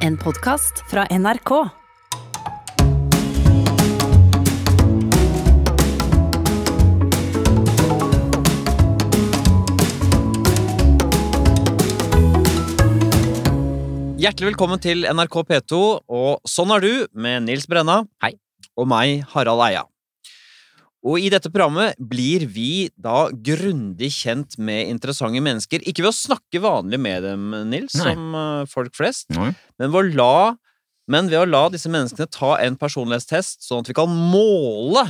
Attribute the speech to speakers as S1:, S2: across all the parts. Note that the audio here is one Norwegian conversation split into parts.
S1: En podkast fra NRK.
S2: Hjertelig velkommen til NRK P2 og Sånn er du med Nils Brenna Hei. og meg, Harald Eia. Og I dette programmet blir vi da grundig kjent med interessante mennesker. Ikke ved å snakke vanlig med dem, Nils,
S3: Nei.
S2: som eh, folk flest,
S3: Nei.
S2: men ved, å la, men ved å la disse menneskene ta en personlighetstest, sånn at vi kan måle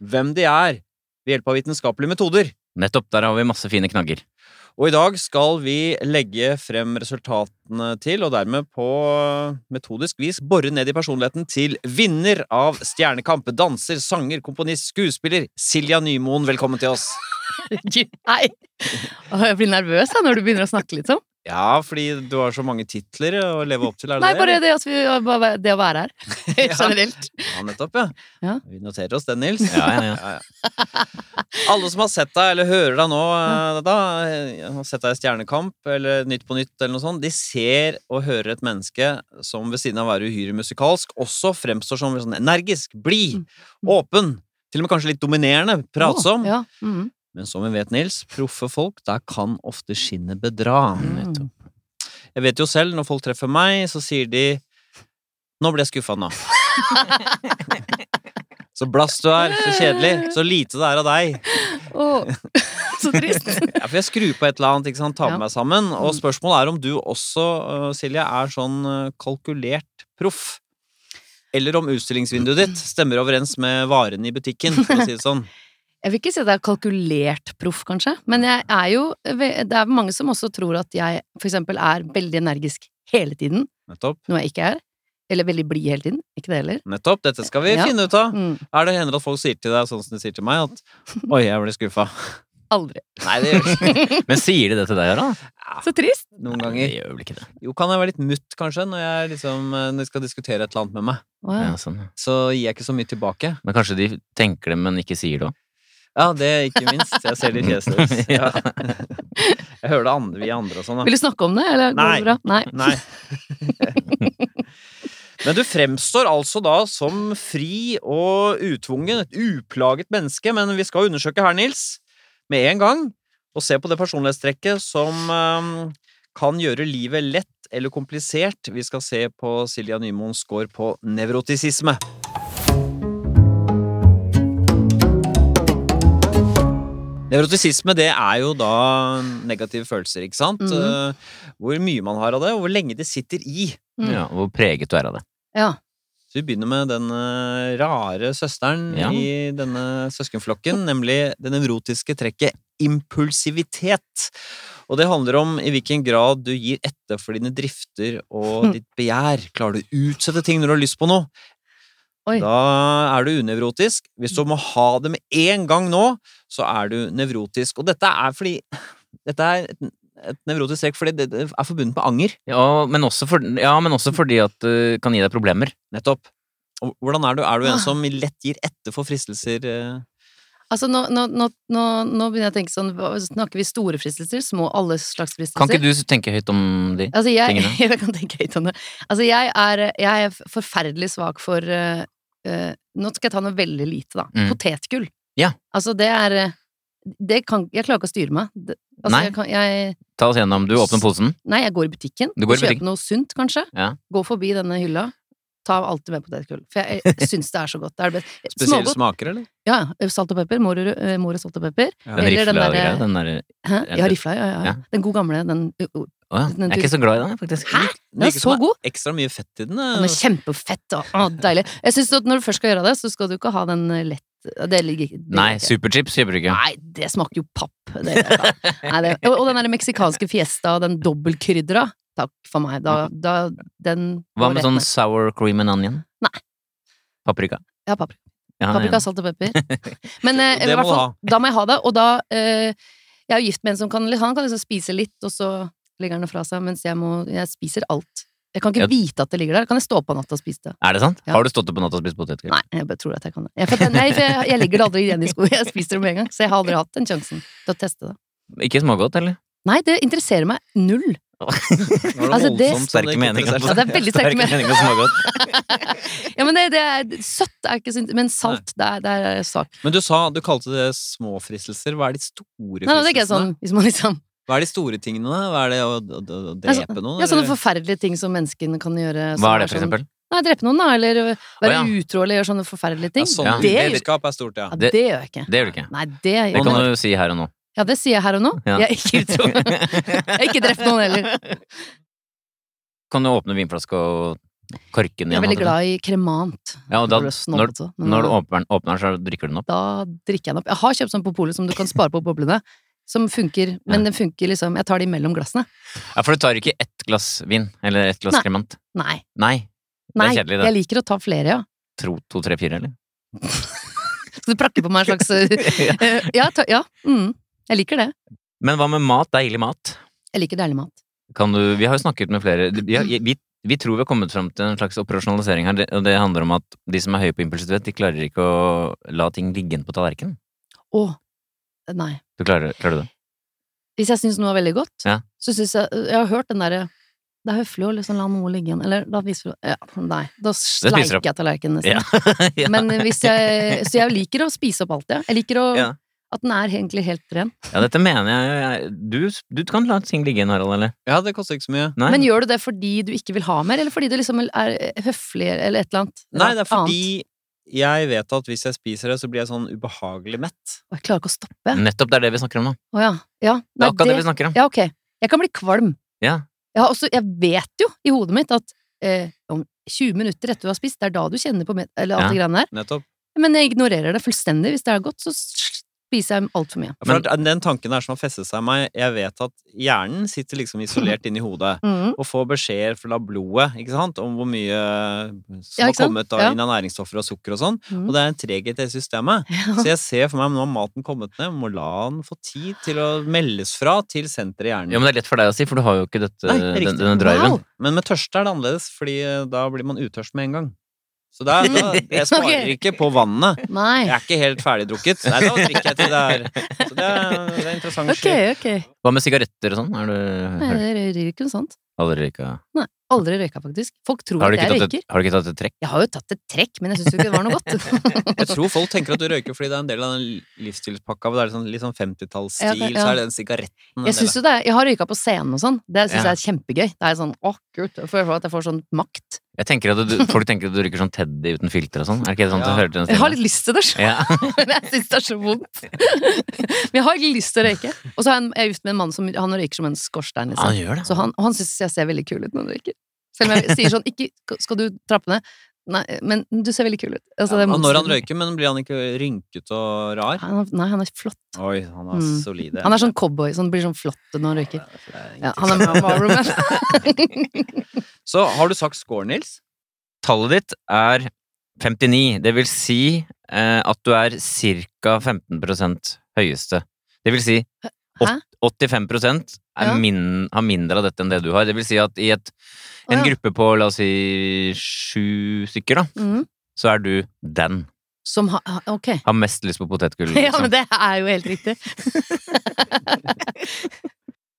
S2: hvem de er ved hjelp av vitenskapelige metoder.
S3: Nettopp, der har vi masse fine knagger.
S2: Og i dag skal vi legge frem resultatene til, og dermed på metodisk vis bore ned i personligheten til vinner av Stjernekamp, danser, sanger, komponist, skuespiller Silja Nymoen. Velkommen til oss.
S4: Herregud, Nei. Åh, jeg blir nervøs jeg, når du begynner å snakke litt sånn.
S2: Ja, fordi du har så mange titler å leve opp til, er det
S4: Nei,
S2: det?
S4: bare det, at vi, bare det å være her. Generelt.
S2: Ja, nettopp, ja.
S4: Ja.
S2: Vi noterer oss den, Nils.
S3: Ja, ja, ja.
S2: Alle som har sett deg, eller hører deg nå, eh, da, eh, har sett deg i Stjernekamp eller Nytt på nytt, eller noe sånt, de ser og hører et menneske som ved siden av å være uhyre musikalsk, også fremstår som sånn energisk, blid,
S4: Mm.
S2: åpen, til og med kanskje litt dominerende, pratsom.
S4: Ja. mhm.
S2: Men som vi vet, Nils, proffe folk, der kan ofte skinnet bedra.
S4: Mm.
S2: Jeg vet jo selv, når folk treffer meg, så sier de Nå ble jeg skuffa nå. så blass du er, så kjedelig, så lite det er av deg.
S4: Åh, så trist.
S2: Ja, for jeg skrur på et eller annet, ikke sant, tar
S4: Ja.
S2: med meg sammen. Og
S4: Mm.
S2: spørsmålet er om du også, øh, Silje, er sånn øh, kalkulert proff. Eller om utstillingsvinduet ditt stemmer overens med varene i butikken, for å si det sånn.
S4: Jeg vil ikke si at jeg er kalkulert proff, kanskje, men jeg er jo Det er mange som også tror at jeg for eksempel er veldig energisk hele tiden,
S2: Nettopp.
S4: noe jeg ikke er. Eller veldig blid hele tiden. Ikke det heller.
S2: Nettopp. Dette skal vi
S4: Ja.
S2: finne ut av.
S4: Mm,
S2: Er det hender at folk sier til deg sånn som de sier til meg, at Oi, jeg ble skuffa.
S4: aldri.
S2: Nei, det gjør det ikke.
S3: Men sier de det til deg, Harald?
S4: Så trist!
S2: Noen
S3: Nei,
S2: ganger.
S3: De gjør vel ikke det.
S2: Jo, kan jeg være litt mutt, kanskje, når jeg liksom eh, når jeg skal diskutere et eller annet med meg.
S4: Åh, ja.
S3: Ja, sånn. ja.
S2: Så gir jeg ikke så mye tilbake.
S3: Men kanskje de tenker det, men ikke sier det òg.
S2: Ja, det ikke minst. Jeg ser det i fjeset deres. Ja. Jeg hører det andre vi andre og sånn, da.
S4: Vil du snakke om det, eller går
S2: Nei.
S4: det bra? Nei.
S2: Nei. Men du fremstår altså da som fri og utvungen, et uplaget menneske, men vi skal undersøke her, Nils, med en gang, og se på det personlighetstrekket som eh, kan gjøre livet lett eller komplisert. Vi skal se på Silja Nymoens score på nevrotisisme. Nevrotisisme det er jo da negative følelser, ikke sant?
S4: Mhm.
S2: Eh, Hvor mye man har av det, og hvor lenge det sitter i.
S4: Mm.
S3: Ja, hvor preget du er av det.
S4: Ja.
S2: Så vi begynner med den eh, rare søsteren
S3: Ja.
S2: i denne søskenflokken, nemlig det nevrotiske trekket impulsivitet. Og det handler om i hvilken grad du gir etter for dine drifter og
S4: Hm.
S2: ditt begjær. Klarer du å utsette ting når du har lyst på noe?
S4: Oi.
S2: Da er du unevrotisk. Hvis du må ha det med en gang nå, så er du nevrotisk. Og dette er fordi Dette er et, et nevrotisk trekk fordi det det er forbundet med anger.
S3: Ja, men også, for, ja, men også fordi at det kan gi deg problemer.
S2: Nettopp. Og hvordan er du? Er du
S4: Ah.
S2: en som lett gir etter for fristelser? eh?
S4: Altså, nå, nå, nå, nå, nå begynner jeg å tenke sånn hva- Snakker vi store fristelser? Små? Alle slags fristelser?
S3: Kan ikke du tenke høyt om de?
S4: altså, jeg,
S3: tingene?
S4: jeg kan tenke høyt om det. Altså, jeg er, jeg er forferdelig svak for eh, eh, Nå skal jeg ta noe veldig lite, da.
S3: Mm.
S4: Potetgull.
S3: Ja.
S4: Altså, det er eh, det kan, Jeg klarer ikke å styre meg. Det, altså,
S3: Nei.
S4: Jeg kan, jeg,
S3: Ta oss gjennom. Du åpner posen.
S4: nei, jeg går i butikken.
S3: Du går i
S4: og
S3: butikken.
S4: Kjøper noe sunt, kanskje.
S3: Ja.
S4: Går forbi denne hylla. Tar alltid med potetgull. For jeg, jeg syns det er så godt. Det er det beste.
S2: Spesielle
S4: Smågodt.
S2: smaker, eller?
S4: Ja, ja. salt og pepper. Mor og, rød- eh, mor og salt og pepper.
S3: Den
S4: Eller den
S3: rifla
S4: derre-
S3: greia. Den derre
S4: Hæ?
S3: Ja,
S4: Ja,
S3: det-
S4: rifla, ja, ja,
S3: ja.
S4: ja. Den gode gamle, den ø, ø,
S3: Å ja.
S4: Den
S3: Jeg er ikke så glad i den, faktisk.
S4: Hæ? Den er
S2: Virker som
S4: så
S2: det er
S4: god!
S2: Ekstra mye fett i den. eh.
S4: Den er kjempefett og å, deilig. Jeg synes at når du først skal gjøre det, så skal du ikke ha den eh, lett Det ligger ikke det
S3: Nei,
S4: ligger ikke.
S3: superchips kjøper du ikke.
S4: Nei, det smaker jo papp. Det gjør jeg ikke. Nei, det, og, og den der meksikanske fiesta og den dobbeltkrydra. Takk for meg. Da, da den
S3: Hva
S4: går
S3: med
S4: rett
S3: sånn
S4: ned.
S3: sour cream and onion?
S4: Nei.
S3: Paprika.
S4: Ja, paprika.
S3: Ja,
S4: paprika, altså.
S3: ja.
S4: salt og pepper. Men eh, i
S2: Det må
S4: hvert
S2: du ha.
S4: fall, da må jeg ha det. Og da eh, Jeg er jo gift med en som kan Han kan liksom spise litt, og så legger han det fra seg, mens jeg må Jeg spiser alt. Jeg kan ikke
S3: Ja.
S4: vite at det ligger der. Kan jeg stå opp på natta og spise det?
S3: Er det sant?
S4: Ja.
S3: Har du stått opp på natta og spist potetgull?
S4: Nei, jeg bare tror at jeg kan det. Jeg, for, nei, for jeg, jeg legger det aldri igjen i skoene. Jeg spiser det med en gang. Så jeg har aldri hatt den sjansen til å teste det.
S3: Ikke smågodt, eller?
S4: Nei, det interesserer meg null.
S2: var
S4: Altså,
S2: voldsomt altså.
S4: det-
S2: som
S3: Sterke
S2: gikk
S3: meninger.
S2: etter
S4: Ja, altså. det er veldig sterke
S3: Sterke
S4: meninger.
S3: meninger om smågodt.
S4: Ja, men det, det er søtt, er ikke sunt, men salt, der, der er jeg svak.
S2: seg. Men du sa du kalte det små fristelser. Hva er de store
S4: Nei, nå tenker jeg
S2: fristelsene?
S4: sånn, hvis man liksom
S2: Hva er de store tingene? Hva er det å, å, å, å
S4: Nei, så-
S2: drepe noen?
S4: Ja, sånne
S2: eller?
S4: forferdelige ting som menneskene kan gjøre. som
S3: Hva er det, for
S4: sånn-
S3: eksempel?
S4: Nei, drepe noen, da. Eller øh, være
S3: Å,
S4: utro eller gjøre sånne forferdelige ting.
S2: ja, sånn
S4: det,
S3: Ja.
S4: gjør,
S2: utroskap er stort, ja.
S4: ja,
S3: Det-
S4: det gjør jeg ikke.
S3: Det gjør du ikke.
S4: Nei, det gjør
S3: Det
S4: jeg
S3: kan
S4: ikke.
S3: du si her og nå.
S4: Ja, det sier jeg her og nå.
S3: Ja.
S4: Jeg er ikke utro. Jeg har ikke drept noen heller.
S3: Kan du åpne vinflaska og korke den igjen?
S4: Jeg er veldig
S3: holdt jeg på å si?
S4: glad i kremant.
S3: Ja, og da,
S4: Burde snobbet
S3: når,
S4: også, men
S3: når du åpner, den- åpner den, så drikker du den opp.
S4: Da drikker jeg den opp. Jeg har kjøpt sånn på polet som du kan spare på boblene. Som funker, men den funker liksom Jeg tar de mellom glassene.
S3: Ja, For du tar ikke ett glass vin eller ett glass
S4: Nei.
S3: kremant.
S4: Nei.
S3: Nei. Det
S4: Nei,
S3: er kjedelig, det.
S4: jeg liker å ta flere, ja.
S3: Tro to, tre, fire, eller?
S4: Skal du prakke på meg en slags øh, Ja, ta, ja. Mm, jeg liker det.
S3: Men hva med mat? Deilig mat?
S4: Jeg liker deilig mat.
S3: Kan du, vi har jo snakket med flere vi, har, vi, vi tror vi har kommet fram til en slags operasjonalisering her, det- og det handler om at de som er høye på impulsivitet, de klarer ikke å la ting ligge igjen på tallerkenen.
S4: Å, nei.
S3: Du klarer, klarer du det?
S4: Hvis jeg syns noe er veldig godt,
S3: Ja.
S4: så syns jeg Jeg har hørt den derre det er høflig å liksom la noe ligge igjen, eller da viser du Ja, nei. Da
S3: du opp.
S4: sleiker jeg tallerkenen nesten.
S3: ja.
S4: Men hvis jeg Så jeg liker å spise opp alt, ja. Jeg liker å
S3: Ja.
S4: At den er egentlig helt ren.
S3: ja, dette mener jeg, jeg du, du kan la ting ligge igjen, Harald, eller?
S2: Ja, det koster ikke så mye.
S3: Nei?
S4: Men gjør du det fordi du ikke vil ha mer, eller fordi det liksom er høflig, eller et eller annet?
S2: Nei, det er fordi
S4: annet?
S2: jeg vet at hvis jeg spiser det, så blir jeg sånn ubehagelig mett.
S4: Å, Jeg klarer ikke å stoppe.
S3: Nettopp, det er det vi snakker om nå.
S4: Å ja. ja.
S3: Mm. Det
S4: Nei,
S3: er akkurat det vi snakker om.
S4: Ja, ok. Jeg kan bli kvalm.
S3: Ja.
S4: Jeg, har også, jeg vet jo i hodet mitt at eh, om 20 minutter etter du har spist, det er da du kjenner på med, eller alt
S3: Ja.
S4: det greiene der.
S2: Nettopp.
S4: Men jeg ignorerer det fullstendig. Hvis det er godt, så spiser jeg altfor mye.
S2: Ja, For
S3: Men-
S2: at den tanken der som har festet seg i meg, jeg vet at hjernen sitter liksom isolert inni hodet.
S4: Mm.
S2: Og får beskjeder fra blodet ikke sant? om hvor mye eh, som
S4: Ja,
S2: har
S4: ikke sant?
S2: kommet av,
S4: Ja.
S2: inn av næringsstoffer og sukker og sånn.
S4: Mm.
S2: Og det er en treghet i det systemet. Så jeg ser for meg nå har maten kommet ned, må la den få tid til å meldes fra til senteret i hjernen.
S3: Ja, men det er lett for deg å si, for du har jo ikke
S4: eh,
S3: dette,
S2: Nei, det er riktig.
S3: den, denne driven.
S4: Wow.
S2: Men med tørste er det annerledes, fordi eh, da blir man utørst med en gang. Så da, da jeg sparer
S4: Ok.
S2: ikke på vannet. Jeg
S4: Nei.
S2: er ikke helt ferdigdrukket. Nei, da drikker jeg til det er Så det er, det er interessant
S4: Ok,
S2: shit.
S4: ok.
S3: Hva med sigaretter og sånn? Er du
S4: Nei,
S3: har du
S4: det røyker ikke noe sånt.
S3: aldri røyka?
S4: Aldri røyka, faktisk. Folk tror
S3: Har du
S4: at
S3: ikke
S4: jeg
S3: tatt
S4: røyker.
S3: et, har du ikke tatt et trekk?
S4: Jeg har jo tatt et trekk, men jeg syns jo ikke det var noe godt.
S2: Jeg tror folk tenker at du røyker fordi det er en del av den livsstilspakka. hvor Det er sånn, litt sånn 50-tallsstil,
S4: Ja, ja.
S2: så er det den sigaretten. en
S4: Jeg,
S2: del
S4: synes jo det er, jeg har røyka på scenen og sånn. Det syns
S3: Ja.
S4: jeg er kjempegøy. Det er sånn å, kult. Jeg føler at jeg får sånn makt.
S3: Jeg tenker at du, Folk tenker at du røyker sånn Teddy uten filter og sånn. Er det ikke det sånn at
S2: Ja.
S3: du hører til den
S4: Jeg har
S3: stemmen?
S4: litt lyst til det,
S3: Ja.
S4: men jeg syns det er så vondt. Men jeg har ikke lyst til å røyke. Og så er jeg- jeg er gift med en mann som han røyker som en skorstein.
S3: Ja,
S4: Liksom.
S3: han gjør det.
S4: Så han, og han syns jeg ser veldig kul ut når han røyker. Selv om jeg sier sånn ikke, Skal du trappe ned? Nei, men du ser veldig kul ut. Altså,
S2: der.
S4: det er
S2: Ja, og når han
S4: motstridende.
S2: røyker, men blir han ikke rynket og rar?
S4: Han, nei, han er flott.
S2: Oi, han er
S4: Mm.
S2: solid.
S4: Han er sånn cowboy, sånn blir sånn flott når han røyker. Ja, han er Marlboro Man.
S2: Så har du sagt score, Nils?
S3: Tallet ditt er 59. Det vil si eh, at du er ca. 15 høyeste. Det vil si
S4: Hæ?
S3: 85 er
S4: Ja.
S3: min, har mindre av dette enn det du har. Det vil si at i et, en
S4: Å, ja.
S3: gruppe på la oss si sju stykker, da,
S4: Mm.
S3: så er du den.
S4: Som ha, ha- ok.
S3: Har mest lyst på potetgull.
S4: Ja, men
S3: Liksom.
S4: det er jo helt riktig.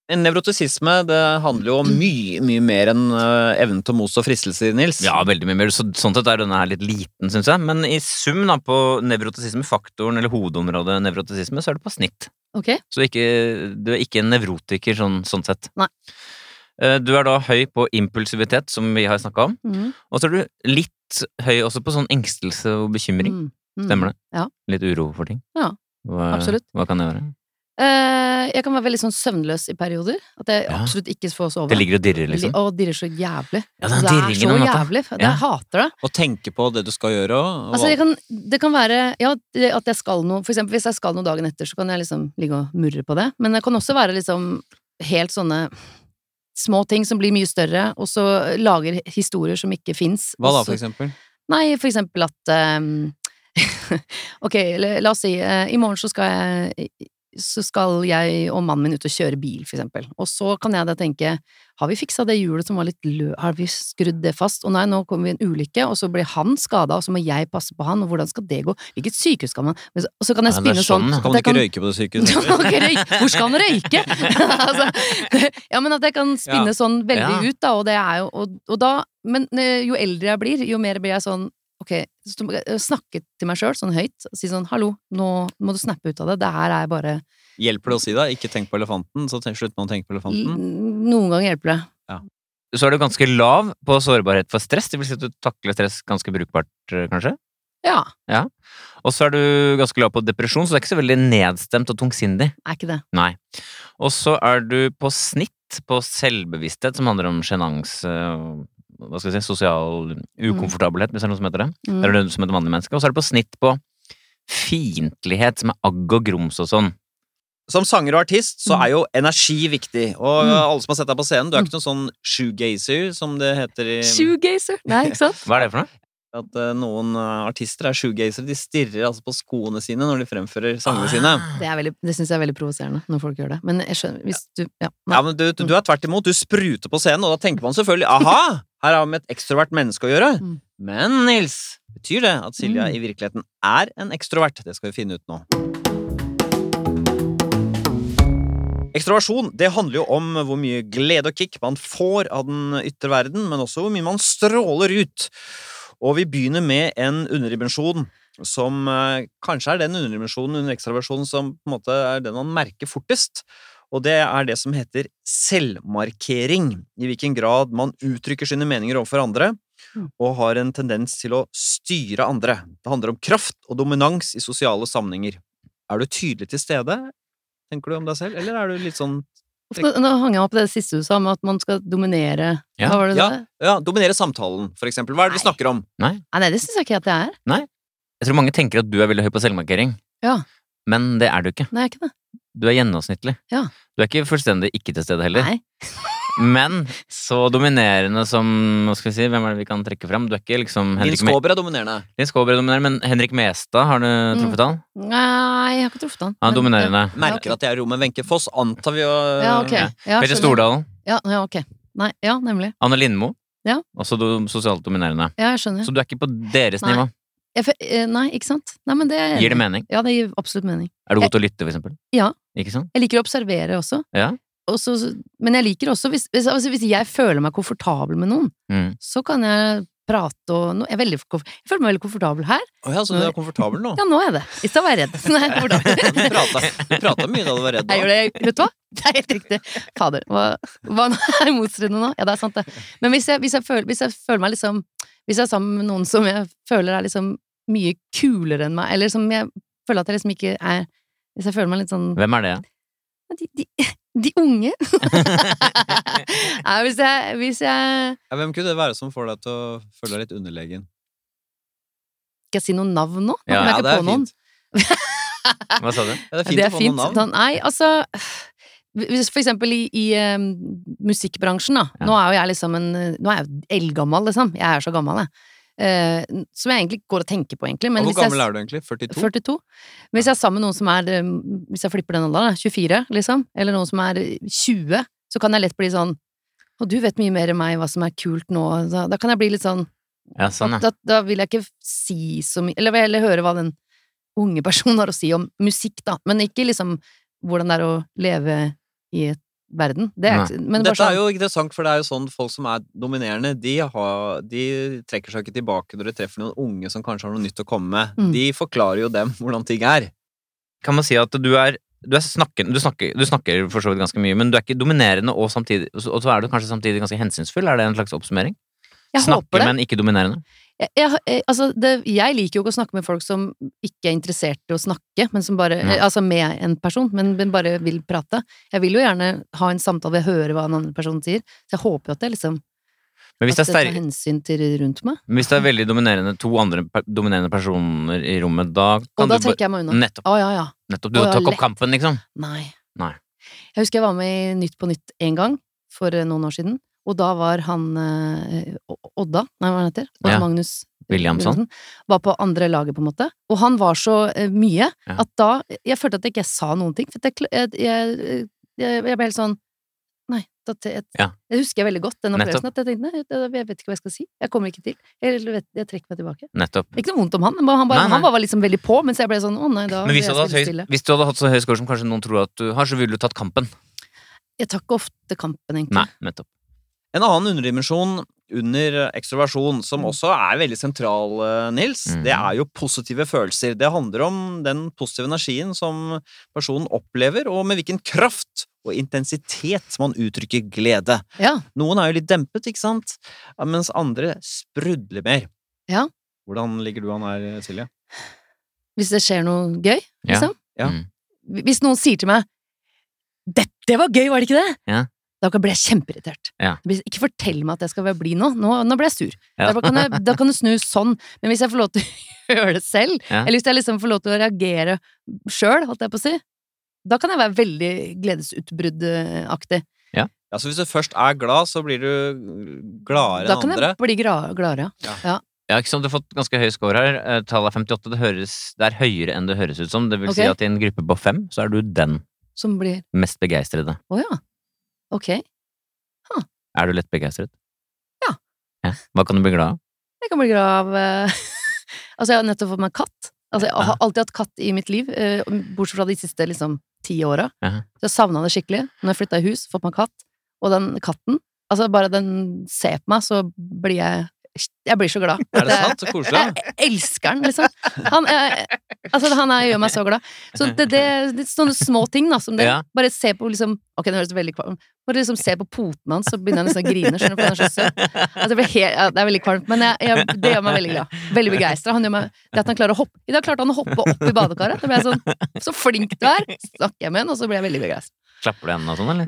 S2: En nevrotisisme det handler jo om mye, mye mer enn eh, evnen til å motstå fristelser, Nils.
S3: Ja, veldig mye mer. Så, sånn sett er denne her litt liten, syns jeg. Men i sum da, på nevrotisisme, faktoren eller hovedområdet nevrotisisme, så er du på snitt.
S4: Ok.
S3: Så ikke, du er ikke en nevrotiker sånn, sånn sett.
S4: Nei.
S3: Eh, Du er da høy på impulsivitet, som vi har snakka om.
S4: Mm.
S3: Og så er du litt høy også på sånn engstelse og bekymring.
S4: Mm. Mm.
S3: Stemmer det?
S4: Ja.
S3: Litt uro for ting.
S4: Ja,
S3: Hva,
S4: absolutt.
S3: Hva kan det være?
S4: Eh, jeg kan være veldig sånn søvnløs i perioder. At jeg
S3: Ja.
S4: absolutt ikke får sove.
S3: Det ligger og dirrer, liksom.
S4: Og dirrer så jævlig.
S3: Ja, den
S4: det er
S3: dirringen
S4: så
S3: om natta.
S4: jævlig. Det,
S3: Ja.
S4: Jeg hater det.
S2: Og tenke på det du skal gjøre. Og,
S4: Altså, jeg kan, det kan være ja, det- at jeg skal noe For eksempel hvis jeg skal noe dagen etter, så kan jeg liksom ligge og murre på det. Men jeg kan også være liksom helt sånne små ting som blir mye større, og så lager historier som ikke fins.
S2: Hva da, for eksempel?
S4: Nei, for eksempel at ehm, Ok, la, la oss si eh, i morgen så skal jeg så skal jeg og mannen min ut og kjøre bil, for eksempel. Og så kan jeg da tenke, har vi fiksa det hjulet som var litt lø... Har vi skrudd det fast? Å nei, nå kommer vi i en ulykke, og så blir han skada, og så må jeg passe på han, og hvordan skal det gå? Hvilket sykehus skal man Men så- Og så kan jeg
S3: Ja, det er
S4: spinne sånn.
S3: sånn, ja.
S2: Så kan man
S4: Det
S2: ikke
S4: kan-
S2: røyke på det
S4: Du
S2: sykehuset.
S4: kan ikke røyke. Hvor skal han røyke?! altså, ja, men at jeg kan spinne
S2: Ja.
S4: sånn veldig
S3: Ja.
S4: ut, da, og det er jo og, og da, Men eh, jo eldre jeg blir, jo mer blir jeg sånn Ok, så må jeg snakke til meg sjøl sånn høyt og si sånn Hallo, nå må du snappe ut av det. Det her er bare
S2: Hjelper det å si da 'ikke tenk på elefanten', så ten- slutter man å tenke på elefanten?
S4: Noen ganger hjelper det.
S3: Så er du ganske lav på sårbarhet for stress. Det vil si at du takler stress ganske brukbart, eh, kanskje.
S4: Ja,
S3: Og så er du ganske lav på depresjon, så du er ikke så veldig nedstemt og tungsindig.
S4: er ikke det.
S3: Nei. Og så er du på snitt på selvbevissthet, som handler om sjenanse og, Hva skal jeg si Sosial ukomfortabelhet, hvis det er noe som heter det.
S4: Mm.
S3: Det er det som heter vanlig menneske. Og så er det på snitt på fiendtlighet, som er agg og grums og sånn.
S2: Som sanger og artist så
S4: Mm.
S2: er jo energi viktig, og
S4: Mm.
S2: alle som har sett deg på scenen, du er ikke noen sånn shoegazer, som det heter i
S4: Shoegazer! Nei, ikke sant?
S3: Hva er det for noe?
S2: At eh, noen eh, artister er shoegazere, de stirrer altså på skoene sine når de fremfører
S4: Ah,
S2: sangene sine.
S4: Det, er veldig, det syns jeg er veldig provoserende når folk gjør det. Men jeg skjønner hvis du Ja.
S2: Ja, men du, du, du er tvert imot, du spruter på scenen, og da tenker man selvfølgelig 'aha, her har vi med et ekstrovert menneske å gjøre'.
S4: Mm.
S2: Men Nils, betyr det at Silja
S4: Mm.
S2: i virkeligheten er en ekstrovert? Det skal vi finne ut nå. Ekstroversjon det handler jo om hvor mye glede og kick man får av den ytre verden, men også hvor mye man stråler ut. Og vi begynner med en underdimensjon som eh, kanskje er den underdimensjonen under ekstraversjonen som på en måte er den man merker fortest. Og det er det som heter selvmarkering, i hvilken grad man uttrykker sine meninger overfor andre
S4: Mm.
S2: og har en tendens til å styre andre. Det handler om kraft og dominans i sosiale sammenhenger. Er du tydelig til stede, tenker du om deg selv, eller er du litt sånn
S4: Nå, nå hang jeg meg på det siste du sa, med at man skal dominere
S3: Ja.
S4: Hva var det du
S2: Ja.
S4: sa?
S2: ja, dominerer samtalen, for eksempel? Hva er det vi
S4: Nei.
S2: snakker om?
S4: Nei, nei, det syns jeg ikke at det er.
S3: Jeg tror mange tenker at du er veldig høy på selvmarkering.
S4: Ja.
S3: Men det er du ikke.
S4: Nei, ikke det.
S3: Du er gjennomsnittlig.
S4: Ja.
S3: Du er ikke fullstendig ikke til stede heller.
S4: Nei.
S3: Men så dominerende som hva skal vi si, Hvem er det vi kan trekke fram? Du er ikke liksom
S2: Din
S3: Henrik, Me
S2: skåber er dominerende.
S3: Linn Skåber er dominerende, men Henrik Mestad, har du
S4: Mm.
S3: truffet han?
S4: nei, jeg har ikke truffet han.
S3: Han er dominerende.
S2: Merker at jeg er i rom med Wenche Foss, antar vi å
S4: Ja, ok. Ja,
S3: Petter
S4: skjønner.
S3: Stordalen.
S4: Ja, ja, ok. Nei, ja, nemlig.
S3: Anne Lindmo.
S4: Ja.
S3: Også do sosialt dominerende.
S4: Ja, jeg skjønner.
S3: Så du er ikke på deres
S4: Nei.
S3: nivå.
S4: Jeg, fe- eh, nei, ikke sant? Nei, men det er jeg
S3: Gir
S4: enig
S3: det
S4: i.
S3: mening?
S4: Ja, det gir absolutt mening.
S3: Er du god til å lytte, for eksempel?
S4: eh, Ja.
S3: Ikke sant?
S4: Jeg liker å observere også.
S3: Ja.
S4: Og så- men jeg liker også hvis, hvis, altså, hvis jeg føler meg komfortabel med noen,
S3: Mm.
S4: så kan jeg prate og nå, jeg, er veldig, komf- jeg føler meg veldig komfortabel her.
S2: Å ja, så du er komfortabel nå?
S4: Ja, nå er jeg det. I stad var jeg redd. Nei,
S2: Ja, Du
S4: hvordan?
S2: prata, du prata mye da du var redd.
S4: Jeg gjør
S2: Da.
S4: det, jeg- vet du hva? Det er helt riktig. Fader, hva, hva er motstridende nå? Ja, det er sant det. Men hvis jeg, hvis jeg, føler, hvis jeg føler meg liksom Hvis jeg er sammen med noen som jeg føler er liksom mye kulere enn meg, eller som jeg føler at jeg liksom ikke er Hvis jeg føler meg litt sånn
S3: Hvem er det?
S4: De, de, de unge? Nei, hvis jeg, hvis jeg
S2: Ja, hvem kunne det være som får deg til å føle deg litt underlegen?
S4: Skal jeg si noen navn nå? Nå kommer jeg
S2: Ja,
S3: Ja,
S4: ikke
S2: det er
S4: på noen.
S2: fint.
S4: Ah.
S3: Hva sa du?
S2: Ja, det er fint å få noen navn.
S4: Sånn, nei, altså hvis For eksempel i, i eh, musikkbransjen, da.
S3: Ja.
S4: Nå er jo jeg liksom en Nå er jeg jo eldgammel, liksom. Jeg er så gammel, jeg. Eh, som jeg egentlig ikke går og tenker på, egentlig. Men
S2: Og
S4: hvis
S2: hvor gammel
S4: jeg,
S2: er du egentlig? 42?
S4: 42. Men Hvis jeg er sammen med noen som er eh, Hvis jeg flipper den alderen, da, 24, liksom, eller noen som er eh, 20, så kan jeg lett bli sånn Og du vet mye mer enn meg hva som er kult nå. Da, da kan jeg bli litt sånn
S3: Ja, sånn, ja.
S4: da, da vil jeg ikke si så mye Eller jeg vil heller høre hva den unge personen har å si om musikk, da. Men ikke liksom hvordan det er å leve i et verden. Det er
S3: Nei.
S4: ikke men bare
S2: Dette er
S4: sånn-
S2: jo interessant, for det er jo sånn folk som er dominerende, de, har, de trekker seg ikke tilbake når de treffer noen unge som kanskje har noe nytt å komme med.
S4: Mm.
S2: De forklarer jo dem hvordan ting er.
S3: Kan man si at du er du, er snakken, du, snakker, du snakker for så vidt ganske mye, men du er ikke dominerende, og, samtidig, og så og så er du kanskje samtidig ganske hensynsfull? Er det en slags oppsummering?
S4: Jeg håper
S3: Snakker,
S4: det.
S3: men ikke dominerende.
S4: Jeg, jeg, jeg- altså, det. Jeg liker jo ikke å snakke med folk som ikke er interessert i å snakke, men som bare
S3: Nei.
S4: Altså med en person, men, men bare vil prate. Jeg vil jo gjerne ha en samtale hvor jeg hører hva den andre personen sier. Så jeg håper jo at det liksom
S3: Men hvis det
S4: At
S3: er
S4: det tar
S3: sterk,
S4: hensyn til rundt meg.
S3: Men Hvis det er veldig dominerende, to andre per- dominerende personer i rommet, da
S4: Og da
S3: kan du Mm. bare
S4: trekker jeg meg unna.
S3: Nettopp.
S4: Å ja, ja.
S3: nettopp du
S4: Å, ja,
S3: tar ikke
S4: lett.
S3: opp kampen, liksom.
S4: Nei.
S3: Nei.
S4: Jeg husker jeg var med i Nytt på Nytt en gang, for eh, noen år siden. Og da var han eh, O- Odda, nei hva han heter? Odd
S3: Ja.
S4: Magnus
S3: Williamson?
S4: var på andre laget, på en måte. Og han var så eh, mye
S3: Ja.
S4: at da Jeg følte at jeg ikke sa noen ting. For at jeg, kl- jeg, jeg, jeg, jeg ble helt sånn Nei. Da, te- jeg,
S3: Ja.
S4: jeg husker jeg veldig godt den
S3: Nettopp.
S4: opplevelsen. At jeg tenkte nei, det- jeg vet ikke hva jeg skal si. Jeg kommer ikke til. Jeg, vet, jeg trekker meg tilbake.
S3: Nettopp.
S4: Ikke noe vondt om han, men han, bare,
S3: Mm. Nei, nei.
S4: han var bare liksom veldig på. Mens jeg ble sånn Å nei, da
S3: Men hvis
S4: vil jeg
S3: du, hadde hatt
S4: spille
S3: høy,
S4: stille.
S3: hvis du hadde hatt så høy score som kanskje noen tror at du har, så ville du tatt kampen.
S4: Jeg tar ikke ofte kampen, egentlig.
S3: Nei, nettopp.
S2: En annen underdimensjon under ekstroversjon, som
S4: Mm.
S2: også er veldig sentral, eh, Nils,
S3: Mhm.
S2: det er jo positive følelser. Det handler om den positive energien som personen opplever, og med hvilken kraft og intensitet man uttrykker glede.
S4: Ja.
S2: Noen er jo litt dempet, ikke sant, Ja, mens andre sprudler mer.
S4: Ja.
S2: Hvordan ligger du an her, Silje?
S4: Hvis det skjer noe gøy,
S3: Ja.
S4: liksom.
S2: Ja.
S3: Mm.
S4: Hvis noen sier til meg 'Dette var gøy, var det ikke det?'
S3: Ja.
S4: Da blir jeg kjempeirritert.
S3: Ja.
S4: Jeg blir- Ikke fortell meg at jeg skal være blid nå. nå. Nå ble jeg sur.
S3: Ja.
S4: Da, kan jeg, da kan du snu sånn. Men hvis jeg får lov til å gjøre det selv,
S3: Ja.
S4: eller hvis jeg liksom får lov til å reagere sjøl, holdt jeg på å si, da kan jeg være veldig gledesutbruddaktig.
S2: Ja, så Hvis du først er glad, så blir du gladere
S4: Da
S2: enn
S4: kan
S2: andre.
S4: jeg bli gra- gladere.
S3: Ja, ikke sant, Du har fått ganske høy score her. Eh, Tallet er 58. Det, høres, det er høyere enn det høres ut som. Det vil si
S4: Ok.
S3: at i en gruppe på fem, så er du den
S4: Som blir
S3: mest begeistrede.
S4: Å ja. Ok.
S3: Er du lett begeistret?
S4: Ja.
S3: ja. Hva kan du bli glad av?
S4: Jeg kan bli glad av eh, Altså, jeg har nettopp fått meg katt. Altså, jeg har alltid hatt katt i mitt liv, eh, bortsett fra de siste liksom, ti åra.
S3: Ja.
S4: Så jeg savna det skikkelig. Når jeg flytta i hus, fått meg katt. Og den katten Altså, bare den ser på meg, så blir jeg Jeg blir så glad.
S2: Er det sant? Så koselig. ja.
S4: Jeg elsker den, liksom. Han, er- altså, han er, gjør meg så glad. Så det, det, det er sånne små ting, da, som det
S3: Ja.
S4: Bare se på liksom Ok, det høres veldig kvalmt Bare liksom se på poten hans, så begynner jeg nesten å grine, skjønner du, for han er så søt. Altså, det, blir helt, ja, det er veldig kvalmt, men jeg, jeg, det gjør meg veldig glad. Veldig begeistra. Det at han klarer å hoppe I dag klarte han å hoppe opp i badekaret. Da ble jeg sånn Så flink du er! Snakker jeg med han, og så ble jeg veldig begeistra.
S3: Klapper du hendene og sånn, eller?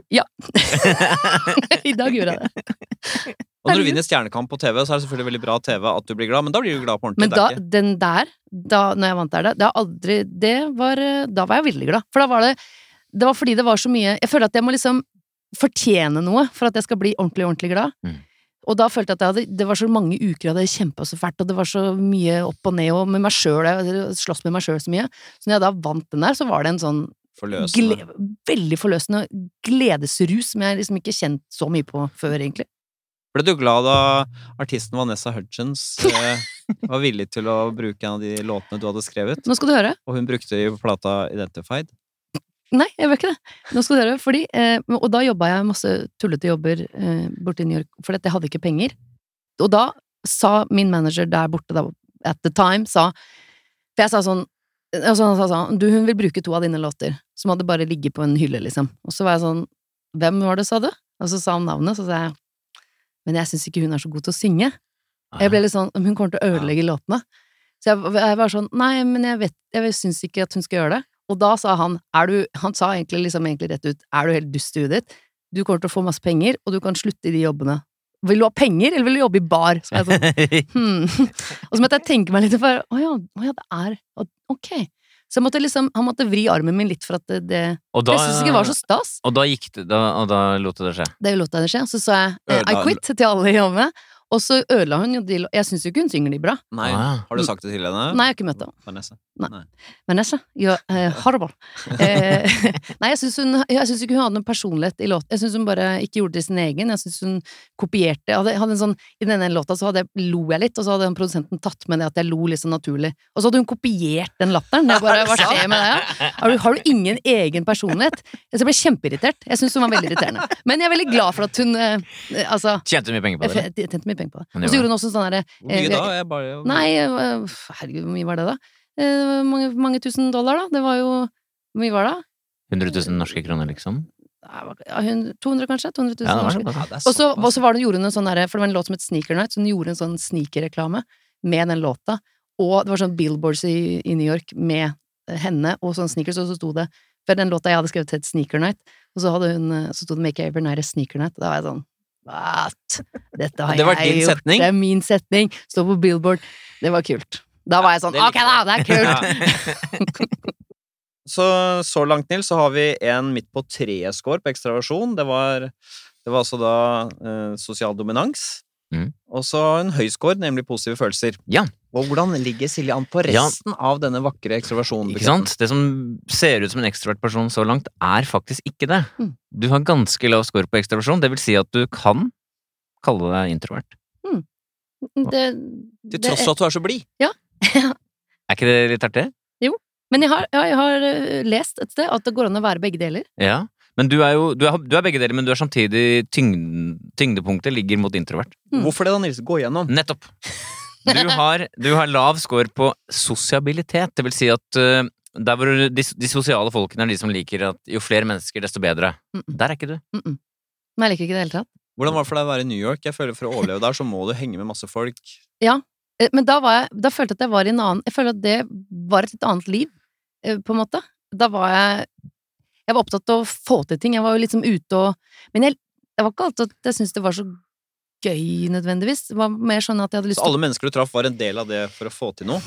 S4: I dag gjorde jeg det.
S2: Og når du
S4: Herregud.
S2: vinner Stjernekamp på TV, så er det selvfølgelig veldig bra TV at du blir glad, men da blir du glad på ordentlig.
S4: Men
S2: det er
S4: da,
S2: ikke-
S4: den der, da når jeg vant der, da, det har aldri Det var eh, Da var jeg veldig glad. For da var det Det var fordi det var så mye Jeg føler at jeg må liksom fortjene noe for at jeg skal bli ordentlig, ordentlig glad.
S3: Mm.
S4: Og da følte jeg at jeg hadde, det var så mange uker jeg hadde kjempa så fælt, og det var så mye opp og ned og med meg sjøl, jeg sloss med meg sjøl så mye. Så når jeg da vant den der, så var det en sånn
S2: Forløsende.
S4: gle, veldig forløsende gledesrus som jeg liksom ikke kjent så mye på før, egentlig.
S2: Ble du glad da artisten Vanessa Hudgens eh, var villig til å bruke en av de låtene du hadde skrevet,
S4: Nå skal du høre.
S2: og hun brukte i plata Identified?
S4: Nei, jeg gjør ikke det. Nå skal du høre, fordi, eh, Og da jobba jeg masse tullete jobber eh, borte i New York, for jeg hadde ikke penger. Og da sa min manager der borte da, at the time, sa For jeg sa sånn altså, Han sa sånn Du, hun vil bruke to av dine låter, som hadde bare ligget på en hylle, liksom. Og så var jeg sånn Hvem var det, sa du? Og så sa han navnet, så sa jeg Men jeg syns ikke hun er så god til å synge. Jeg ble litt sånn Hun kommer til å ødelegge låtene. Så jeg, jeg var sånn Nei, men jeg vet Jeg syns ikke at hun skal gjøre det. Og da sa han Er du Han sa egentlig liksom egentlig rett ut Er du helt dust i huet ditt? Du kommer til å få masse penger, og du kan slutte i de jobbene. Vil du ha penger, eller vil du jobbe i bar? Så var jeg sånn hmm. Og så måtte jeg tenke meg litt for Å ja, å ja, det er å- Ok. Så jeg måtte liksom Han måtte vri armen min litt for at det, det
S3: og da, eh,
S4: Jeg syns ikke det var så stas.
S3: Og da gikk det, da, og da lot du det skje.
S4: Det lot jeg det skje. Så sa jeg eh, I
S2: Ødela-
S4: quit til alle i jobbet. Og så ødela hun jo de lå- Jeg syns jo ikke hun synger de bra.
S2: Nei.
S3: Ah.
S2: Har du sagt det til henne?
S4: Nei, jeg har ikke møtt henne.
S2: Vanessa.
S4: Vanessa, you're uh, horrible. Eh, nei, jeg syns hun- jeg syns ikke hun hadde noen personlighet i låten. Jeg syns hun bare ikke gjorde det til sin egen. Jeg syns hun kopierte. Jeg hadde, hadde en sånn, I den ene låta så hadde jeg, lo jeg litt, og så hadde han produsenten tatt med det at jeg lo litt sånn naturlig. Og så hadde hun kopiert den latteren. Jeg bare, Hva skjer med deg? ja? Har du, har du ingen egen personlighet? Så jeg ble kjempeirritert. Jeg syns hun var veldig irriterende. Men jeg er veldig glad for at hun eh, Altså,
S3: Tjente du mye penger på
S4: jeg,
S3: det? eller?
S4: f- jeg tjente mye penger på det.
S3: Men det
S4: Og så
S3: gjorde
S4: gjorde hun også sånn derre
S2: Hvor mye
S4: Eh,
S2: da? Jeg bare
S4: Nei, eh, f- herregud, hvor mye var det da? Eh, mange, mange tusen dollar da? Det var jo Hvor mye var det?
S3: 100 000 norske kroner, liksom?
S4: Nei, hva- ja, hun- 200 kanskje? 200 000
S3: Ja, det var
S4: norske.
S3: sånn.
S2: Ja, det er
S4: Og så
S2: såpass.
S4: og så var det, gjorde hun en sånn derre For det var en låt som het Sneaker Night, så hun gjorde en sånn sneakerreklame med den låta. Og det var sånn billboards i, i New York med eh, henne og sånn sneakers, og så sto det For den låta jeg hadde skrevet het Sneaker Night, og så, hadde hun, eh, så sto det Make Every Night a Sneaker Night, og da var jeg sånn What? Dette har
S2: Det var
S4: jeg
S2: din
S4: gjort.
S2: setning?
S4: Det er min setning. Står på billboard. Det var kult. Da var jeg sånn
S2: det likte
S4: Ok, da, det er kult!
S2: Så, så langt, Nils, så har vi en midt på treet-score på ekstraversjon. Det var, det var altså da eh, sosial dominans.
S3: Mm.
S2: Og så en høy score, nemlig positive følelser.
S3: Ja.
S2: Og hvordan ligger Silje an på
S3: Ja.
S2: resten av denne vakre ekstroversjonen?
S3: Ikke sant? Det som ser ut som en ekstrovert person så langt, er faktisk ikke det.
S4: Mm.
S3: Du har ganske lav score på ekstroversjon. Det vil si at du kan kalle deg introvert.
S4: Det,
S2: Til
S4: det
S2: tross
S4: er-
S2: for at du er så blid.
S3: Er ikke det litt artig?
S4: Men jeg har, ja, jeg har eh, lest et sted at det går an å være begge deler.
S3: Ja. Men du er jo du er, du er begge deler, men du er samtidig tyngden, Tyngdepunktet ligger mot introvert.
S4: Mm.
S2: Hvorfor det, da, Nils? Gå igjennom.
S3: Nettopp! Du har, du har lav score på sosiabilitet. Det vil si at eh, der hvor de, de sosiale folkene er de som liker at jo flere mennesker, desto bedre.
S4: Mm.
S3: Der er ikke du.
S4: Men jeg liker ikke det i det hele tatt.
S2: Hvordan var det for deg å være i New York? Jeg føler For å overleve der, så må du henge med masse folk.
S4: Eh, Men da, var jeg, da følte jeg at jeg var i en annen Jeg føler at det var et litt annet liv, eh, på en måte. Da var jeg Jeg var opptatt av å få til ting. Jeg var jo liksom ute og Men jeg, det var ikke alltid at jeg syntes det var så gøy, nødvendigvis. Det var mer sånn at jeg hadde lyst
S2: Så alle mennesker du traff, var en del av det for å få til noe?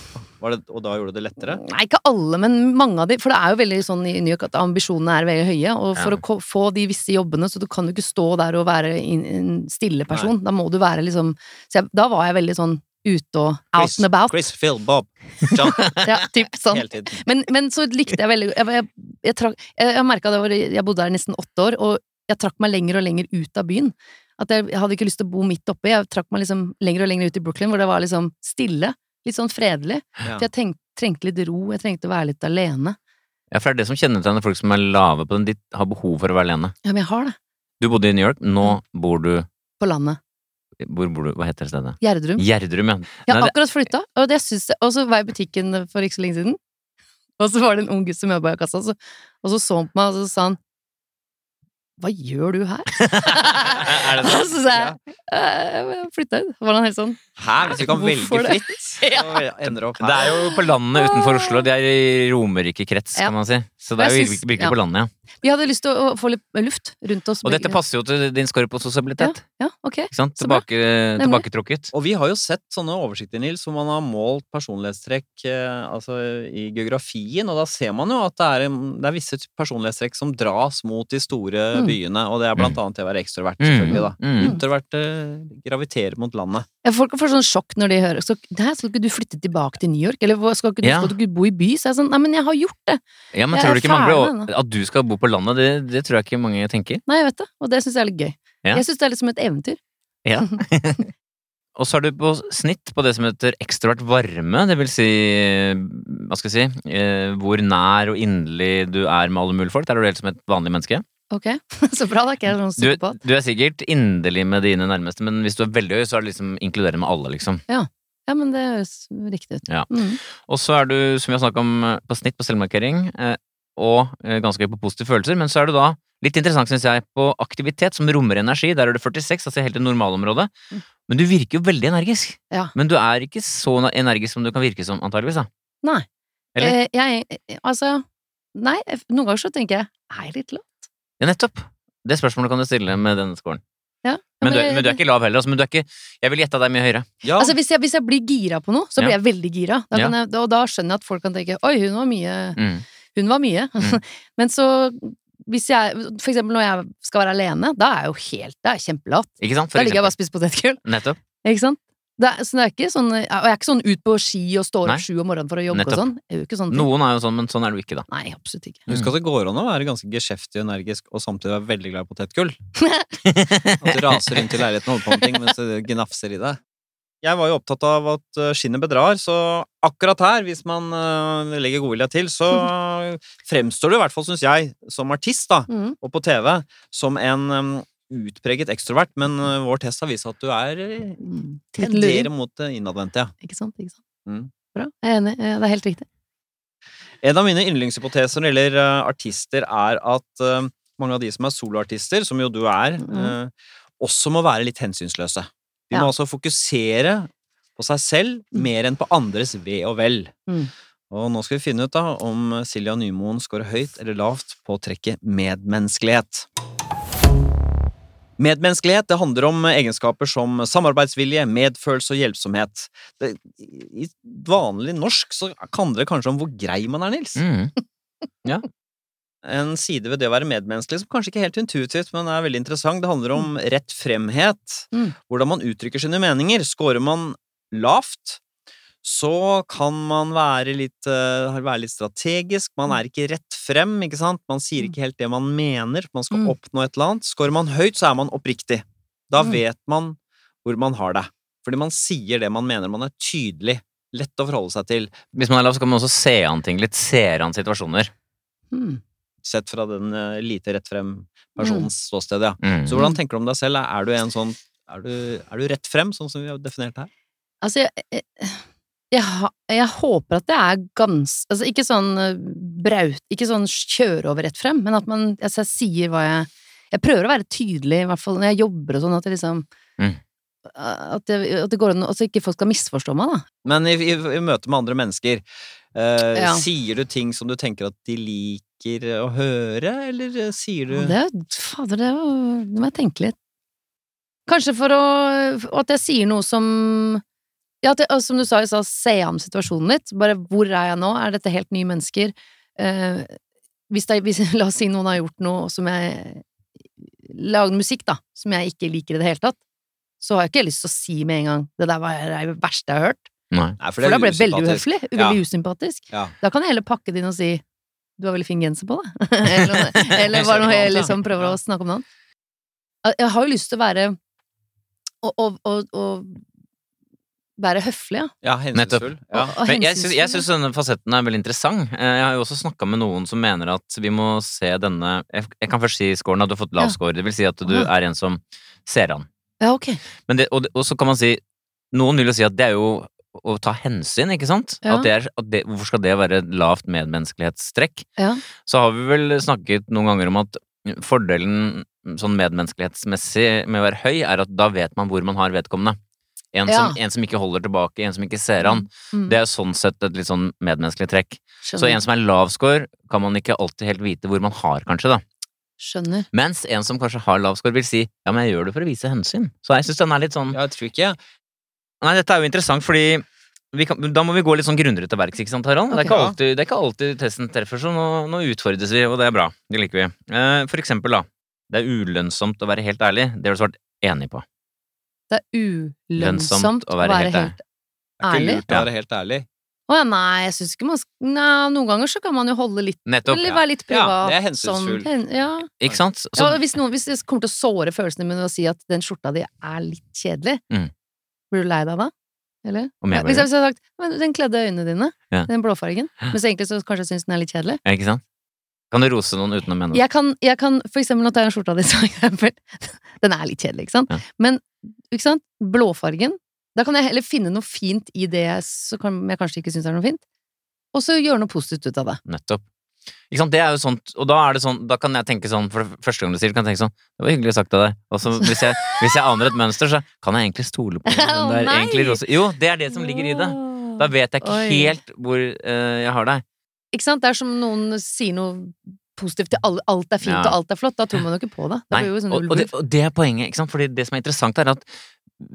S2: Var det, og da gjorde du det lettere?
S4: Nei, ikke alle, men mange av de. For det er jo veldig sånn i New York at ambisjonene er veldig høye. Og for
S3: Ja.
S4: å ko- få de visse jobbene, så du kan jo ikke stå der og være en- en stille person. Da må du være liksom Så jeg, da var jeg veldig sånn ute og out
S2: Chris,
S4: and about.
S2: Chris, Phil, Bob, John.
S4: Ja, typ sånn.
S2: Hele tiden.
S4: Men, men så likte jeg veldig Jeg, jeg, jeg, trakk- jeg, jeg merka det var Jeg bodde her nesten åtte år, og jeg trakk meg lenger og lenger ut av byen. At jeg, jeg hadde ikke lyst til å bo midt oppe. Jeg trakk meg liksom lenger og lenger ut i Brooklyn, hvor det var liksom stille. Litt sånn fredelig.
S2: Ja.
S4: For jeg tenk, trengte litt ro, jeg trengte å være litt alene.
S3: Ja, for det er det som kjennetegner folk som er lave på den. De har behov for å være alene.
S4: Ja, men jeg har det.
S3: Du bodde i New York,
S4: Mm.
S3: nå bor du
S4: På landet.
S3: Hvor bor du? Hva heter stedet?
S4: Gjerdrum.
S3: Gjerdrum, ja.
S4: Jeg har
S3: Nei, det-
S4: akkurat flytta, og, det syns jeg- og så var jeg i butikken for ikke så lenge siden. Og så var det en ung gutt som jobba i kassa, og så, og så så han på meg, og så sa han Hva gjør du her?
S3: Er det
S4: Og
S3: sant?
S4: så sa jeg «Eh, Jeg flytta ut. Så var han helt sånn
S2: Hæ, hvis du kan
S4: Hvorfor
S2: velge
S4: det?
S2: fritt, så ender du opp her.
S3: Det er jo på landet utenfor Oslo. Det er i Romerike-krets,
S4: Ja.
S3: kan man si. Så det
S4: Og
S3: er jo
S4: jeg syns-
S3: virkelig
S4: ja.
S3: på landet, ja.
S4: Vi hadde lyst til å få litt luft rundt oss.
S3: Og dette
S4: begge.
S3: passer jo til din score på sosialitet.
S4: Ja, ok.
S3: Ikke sant?
S4: Så bra.
S3: Tilbake, tilbaketrukket.
S2: Og vi har jo sett sånne oversikter, Nils, hvor man har målt personlighetstrekk eh, altså, i geografien, og da ser man jo at det er, en- det er visse personlighetstrekk som dras mot de store
S4: Mm.
S2: byene, og det er blant annet det å være ekstrovert,
S3: Mm.
S2: selvfølgelig, da.
S3: Mm.
S2: Introverte graviterer mot landet.
S4: Ja, Folk får sånn sjokk når de hører så, Nei, skal ikke du flytte tilbake til New York? Eller hva- skal ikke du,
S3: Ja.
S4: skal du ikke bo i by? Så jeg er sånn Nei, men jeg har gjort det.
S3: Ja, men
S4: Jeg
S3: tror
S4: er
S3: du ikke mange blir
S4: ferdig med
S3: over- At du skal bo på landet, det, det tror jeg ikke mange tenker.
S4: Nei, jeg vet det. Og det syns jeg er litt gøy.
S3: Ja.
S4: Jeg syns det er litt som et eventyr.
S3: Ja. Og så er du på snitt på det som heter ekstrovert varme, det vil si eh, Hva skal jeg si eh, Hvor nær og inderlig du er med alle mulige folk. Der er du helt som et vanlig menneske.
S4: Ok, så bra. Da er ikke jeg sånn
S3: Du,
S4: psykopat.
S3: du er sikkert inderlig med dine nærmeste, men hvis du er veldig høy, så er det liksom inkluderende med alle, liksom.
S4: Ja, men det høres riktig ut.
S3: Ja.
S4: Mm.
S3: Og så er du, som vi har snakket om, eh, på snitt på selvmarkering, eh, og eh, ganske høy på positive følelser, men så er du da litt interessant, synes jeg, på aktivitet som rommer energi. Der er du 46, altså helt i normalområdet.
S4: Mm.
S3: Men du virker jo veldig energisk.
S4: Ja.
S3: Men du er ikke så na- energisk som du kan virke som, antageligvis, da.
S4: Nei.
S3: Eller?
S4: Eh, jeg, eh, altså Nei, jeg- noen ganger så tenker jeg Er jeg litt lav?
S3: Ja, nettopp. Det spørsmålet kan du stille med denne scoren.
S4: Ja,
S3: Men, du, er-
S4: jeg-
S3: men du er ikke lav heller, altså. Men du er ikke Jeg vil gjette deg mye høyere.
S2: Ja,
S4: Altså, hvis jeg, hvis jeg blir gira på noe, så blir
S3: Ja.
S4: jeg veldig gira. Da
S3: Ja.
S4: kan jeg, da- og da skjønner jeg at folk kan tenke Oi, hun var mye.
S3: Mm.
S4: Hun var mye.
S3: Mm.
S4: Men så hvis jeg, For eksempel når jeg skal være alene, da er jeg jo helt Det er kjempelavt.
S3: Ikke sant? For
S4: Da ligger jeg bare
S3: eksempel.
S4: og spiser potetgull.
S3: Nettopp.
S4: Ikke sant? Det er, så det er ikke sånn, og jeg er ikke sånn ut på ski og står
S3: Nei.
S4: opp sju om morgenen for å jobbe
S3: Nettopp.
S4: og sånn. Jeg gjør ikke sånne ting.
S3: Noen er jo sånn, men sånn er du ikke, da.
S4: Nei, absolutt ikke.
S2: Husk at det går an å være ganske geskjeftig og energisk og samtidig være veldig glad i potetgull. At du raser rundt i leiligheten og holder på med ting mens det gnafser i deg. Jeg var jo opptatt av at eh, skinnet bedrar, så akkurat her, hvis man eh, legger godvilja til, så fremstår du i hvert fall, syns jeg, som artist, da,
S3: Mm.
S4: Mhm.
S2: og på TV, som en em, utpreget ekstrovert, men eh, vår test har vist at du er eh,
S4: Mm. Litt luring.
S2: tenderer mot det innadvendte, ja.
S4: Ikke sant? Ikke sant?
S2: Mm.
S4: Bra. Jeg er enig. Eh, Det er helt riktig.
S2: En av mine yndlingshypoteser når det gjelder eh, artister, er at eh, mange av de som er soloartister, som jo du er,
S4: Mhm.
S2: eh, også må være litt hensynsløse. De må
S4: Ja.
S2: altså fokusere på seg selv mer enn på andres ve og vel.
S4: Mm.
S2: Og nå skal vi finne ut da om Silja Nymoen scorer høyt eller lavt på trekket medmenneskelighet. Medmenneskelighet det handler om egenskaper som samarbeidsvilje, medfølelse og hjelpsomhet. Det, I vanlig norsk så handler det kanskje om hvor grei man er, Nils.
S3: Mm.
S2: en side ved det å være medmenneskelig som kanskje ikke er helt intuitivt, men er veldig interessant. Det handler om rett fremhet.
S4: Mm.
S2: Hvordan man uttrykker sine meninger. Skårer man lavt, så kan man være litt, eh, være litt strategisk. Man
S4: Mm.
S2: er ikke rett frem, ikke sant? Man sier ikke helt det man mener. Man skal
S4: Mm.
S2: oppnå et eller annet. Skårer man høyt, så er man oppriktig. Da
S4: Mm.
S2: vet man hvor man har det. Fordi man sier det man mener. Man er tydelig. Lett å forholde seg til.
S3: Hvis man er lav, så kan man også se an ting litt. Ser an situasjoner.
S4: Mm.
S2: Sett fra den eh, lite rett frem-personens ståsted, ja.
S3: Mm.
S2: Så hvordan tenker du om deg selv? Er du en sånn er du, er du rett frem, sånn som vi har definert her?
S4: Altså, jeg, jeg, jeg, ha- jeg håper at det er gans... Altså, ikke sånn eh, braut, ikke sånn kjøre over rett frem, men at man altså, jeg sier hva jeg Jeg prøver å være tydelig, i hvert fall når jeg jobber og sånn, at jeg liksom
S3: Mm.
S4: At, jeg, at det går an at ikke folk skal misforstå meg, da.
S2: Men i, i, i møte med andre mennesker, eh,
S4: Ja.
S2: sier du ting som du tenker at de liker å høre, eller eh, sier du
S4: Og Det er jo Fader, det er jo Det må jeg tenke litt. Kanskje for å og At jeg sier noe som Ja, at jeg, og som du sa, jeg sa se an situasjonen litt. Bare hvor er jeg nå? Er dette helt nye mennesker? Eh, hvis det, er- hvis, la oss si noen har gjort noe som jeg Lagd musikk, da, som jeg ikke liker i det hele tatt. Så har jeg ikke lyst til å si med en gang det der var det verste jeg har hørt.
S3: Nei.
S2: Nei,
S4: For da
S2: er
S4: ble jeg veldig
S2: usympatisk.
S4: uhøflig.
S2: Ja.
S4: Veldig usympatisk.
S2: Ja.
S4: Da kan jeg heller pakke det inn og si du har veldig fin genser på, da. eller, noe- eller bare
S2: Jeg skjønner
S4: noe
S2: hva
S4: jeg
S2: du
S4: liksom
S2: mener.
S4: prøver
S2: Ja.
S4: å snakke om noe annet. Jeg- Jeg har jo lyst til å være Å, å, å, å være høflig, ja.
S2: Ja, hensynsfull.
S3: Nettopp.
S2: Ja.
S4: Og, og
S3: Men jeg syns, jeg
S4: hensynsfull.
S3: syns denne fasetten er veldig interessant. Eh, Jeg har jo også snakka med noen som mener at vi må se denne Jeg, jeg kan først si scoren, at du har fått lav
S4: Ja.
S3: score. Det vil si at du
S4: Aha.
S3: er en som ser an.
S4: Ja, ok.
S3: Men det, og, det- og så kan man si Noen vil jo si at det er jo å ta hensyn, ikke sant?
S4: Ja.
S3: At det er, at det, hvorfor skal det være et lavt medmenneskelighetstrekk?
S4: Ja.
S3: Så har vi vel snakket noen ganger om at fordelen sånn medmenneskelighetsmessig med å være høy, er at da vet man hvor man har vedkommende. En, som, en som ikke holder tilbake, en som ikke ser an.
S4: Mm,
S3: Det er sånn sett et litt sånn medmenneskelig trekk. Så en
S4: skjønner.
S3: som er lav score, kan man ikke alltid helt vite hvor man har, kanskje, da.
S4: skjønner.
S3: Mens en som kanskje har lav score, vil si ja, men jeg gjør det for å vise hensyn. Så jeg syns den er litt sånn
S2: Ja, jeg tror ikke
S3: Nei, dette er jo interessant, fordi vi kan, da må vi gå litt sånn grundigere til verks, ikke sant, Harald?
S4: Ok.
S3: Det, er ikke alltid, det er ikke alltid testen treffer, så nå, nå utfordres vi, og det er bra. Det liker vi. Eh, for eksempel, da. Det er ulønnsomt å være helt ærlig. Det har du svart enig på.
S4: Det er ulønnsomt å være, helt,
S3: ærlig.
S2: Det er ikke
S4: ærlig.
S2: lurt å være helt ærlig.
S4: Å ja, nei, jeg syns ikke man skal Nei, noen ganger så kan man jo holde litt
S3: Nettopp.
S4: Eller
S3: Ja.
S4: være litt
S2: Ja,
S4: privat.
S2: det er
S4: sånn.
S2: hensynsfull.
S4: hen- Ja.
S3: Ikke sant? Sånn. Så,
S4: ja, og hvis, noen, hvis det kommer til å såre følelsene mine ved å si at den skjorta di er litt kjedelig,
S3: Mm.
S4: blir du lei deg da? Eller?
S3: Om
S4: Ja, liksom-
S3: jeg bare-
S4: hvis jeg hvis jeg hadde sagt men 'den kledde øynene dine',
S3: Ja.
S4: den blåfargen, mens egentlig så kanskje jeg syns den er litt kjedelig.
S3: Ja, ikke sant? Kan du rose noen uten å mene det?
S4: Jeg kan, jeg kan for eksempel, nå tar jeg den skjorta di som eksempel, den er litt kjedelig, ikke sant?
S3: Ja.
S4: Men ikke sant? blåfargen, da kan jeg heller finne noe fint i det jeg- så kan, jeg kanskje ikke syns er noe fint, og så gjøre noe positivt ut av det.
S3: Nettopp. Ikke sant? Det er jo sånt, og da, er det sånn, da kan jeg tenke sånn, for det første gang du sier det, kan jeg tenke sånn Det var hyggelig sagt av deg. Og så hvis jeg, hvis jeg aner et mønster, så kan jeg egentlig stole på den
S4: Å,
S3: der
S4: nei!
S3: egentlig rose Jo, det er det som ligger i det. Da vet jeg ikke
S4: Oi.
S3: helt hvor eh, jeg har deg.
S4: Ikke sant? Det er som noen sier noe positivt til alle, alt er fint
S3: Ja.
S4: og alt er flott. Da tror man jo ikke på det. Det
S3: Nei,
S4: blir jo sånn
S3: og, og, det,
S4: ulv.
S3: og det er poenget. Ikke sant? Fordi det som er interessant, er at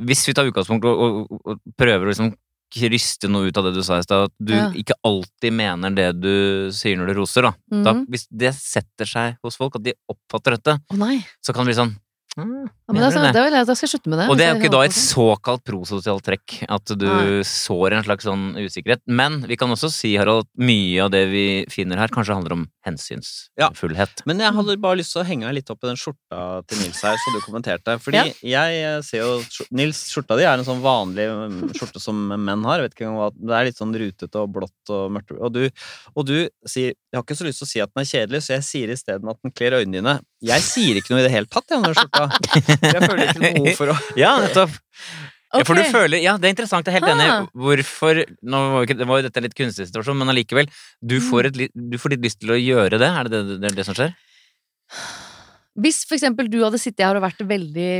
S3: hvis vi tar utgangspunkt og, og, og- og prøver å liksom kryste noe ut av det du sa i stad, at du
S4: Ja.
S3: ikke alltid mener det du sier når du roser, da. da
S4: Mhm.
S3: hvis det setter seg hos folk, at de oppfatter dette,
S4: Å nei.
S3: så kan det bli sånn «Mm,
S4: Ja, men da,
S3: mener du
S4: da,
S3: det?»
S4: vil jeg, da skal jeg slutte med det.
S3: Og
S4: hvis
S3: det er jo
S4: jeg
S3: ikke da
S4: holder
S3: et
S4: på sånn.
S3: såkalt prososialt trekk, at du
S4: Nei.
S3: sår en slags sånn usikkerhet. Men vi kan også si, Harald, at mye av det vi finner her, kanskje handler om hensynsfullhet.
S2: Men jeg hadde bare lyst til å henge meg litt opp i den skjorta til Nils her, så du kommenterte. Fordi jeg eh, ser jo skjor- Nils, skjorta di er en sånn vanlig mm, skjorte som menn har. Jeg vet ikke engang hva Det er litt sånn rutete og blått og mørkt. Og du, og du sier Jeg har ikke så lyst til å si at den er kjedelig, så jeg sier isteden at den kler øynene dine. Jeg sier ikke noe i det hele tatt, jeg, om den skjorta. Jeg føler ikke noe behov for å
S3: Ja, nettopp. Ja, for du
S4: Ok.
S3: føler, ja, det er interessant. Jeg er helt
S4: Ah.
S3: enig. Hvorfor nå var jo ikke, Det var jo dette en litt kunstig situasjon, men allikevel. Du
S4: Mm.
S3: får, et, li- du får litt lyst til å gjøre det. Er det det, det, er det som skjer?
S4: Hvis for eksempel du hadde sittet her og vært veldig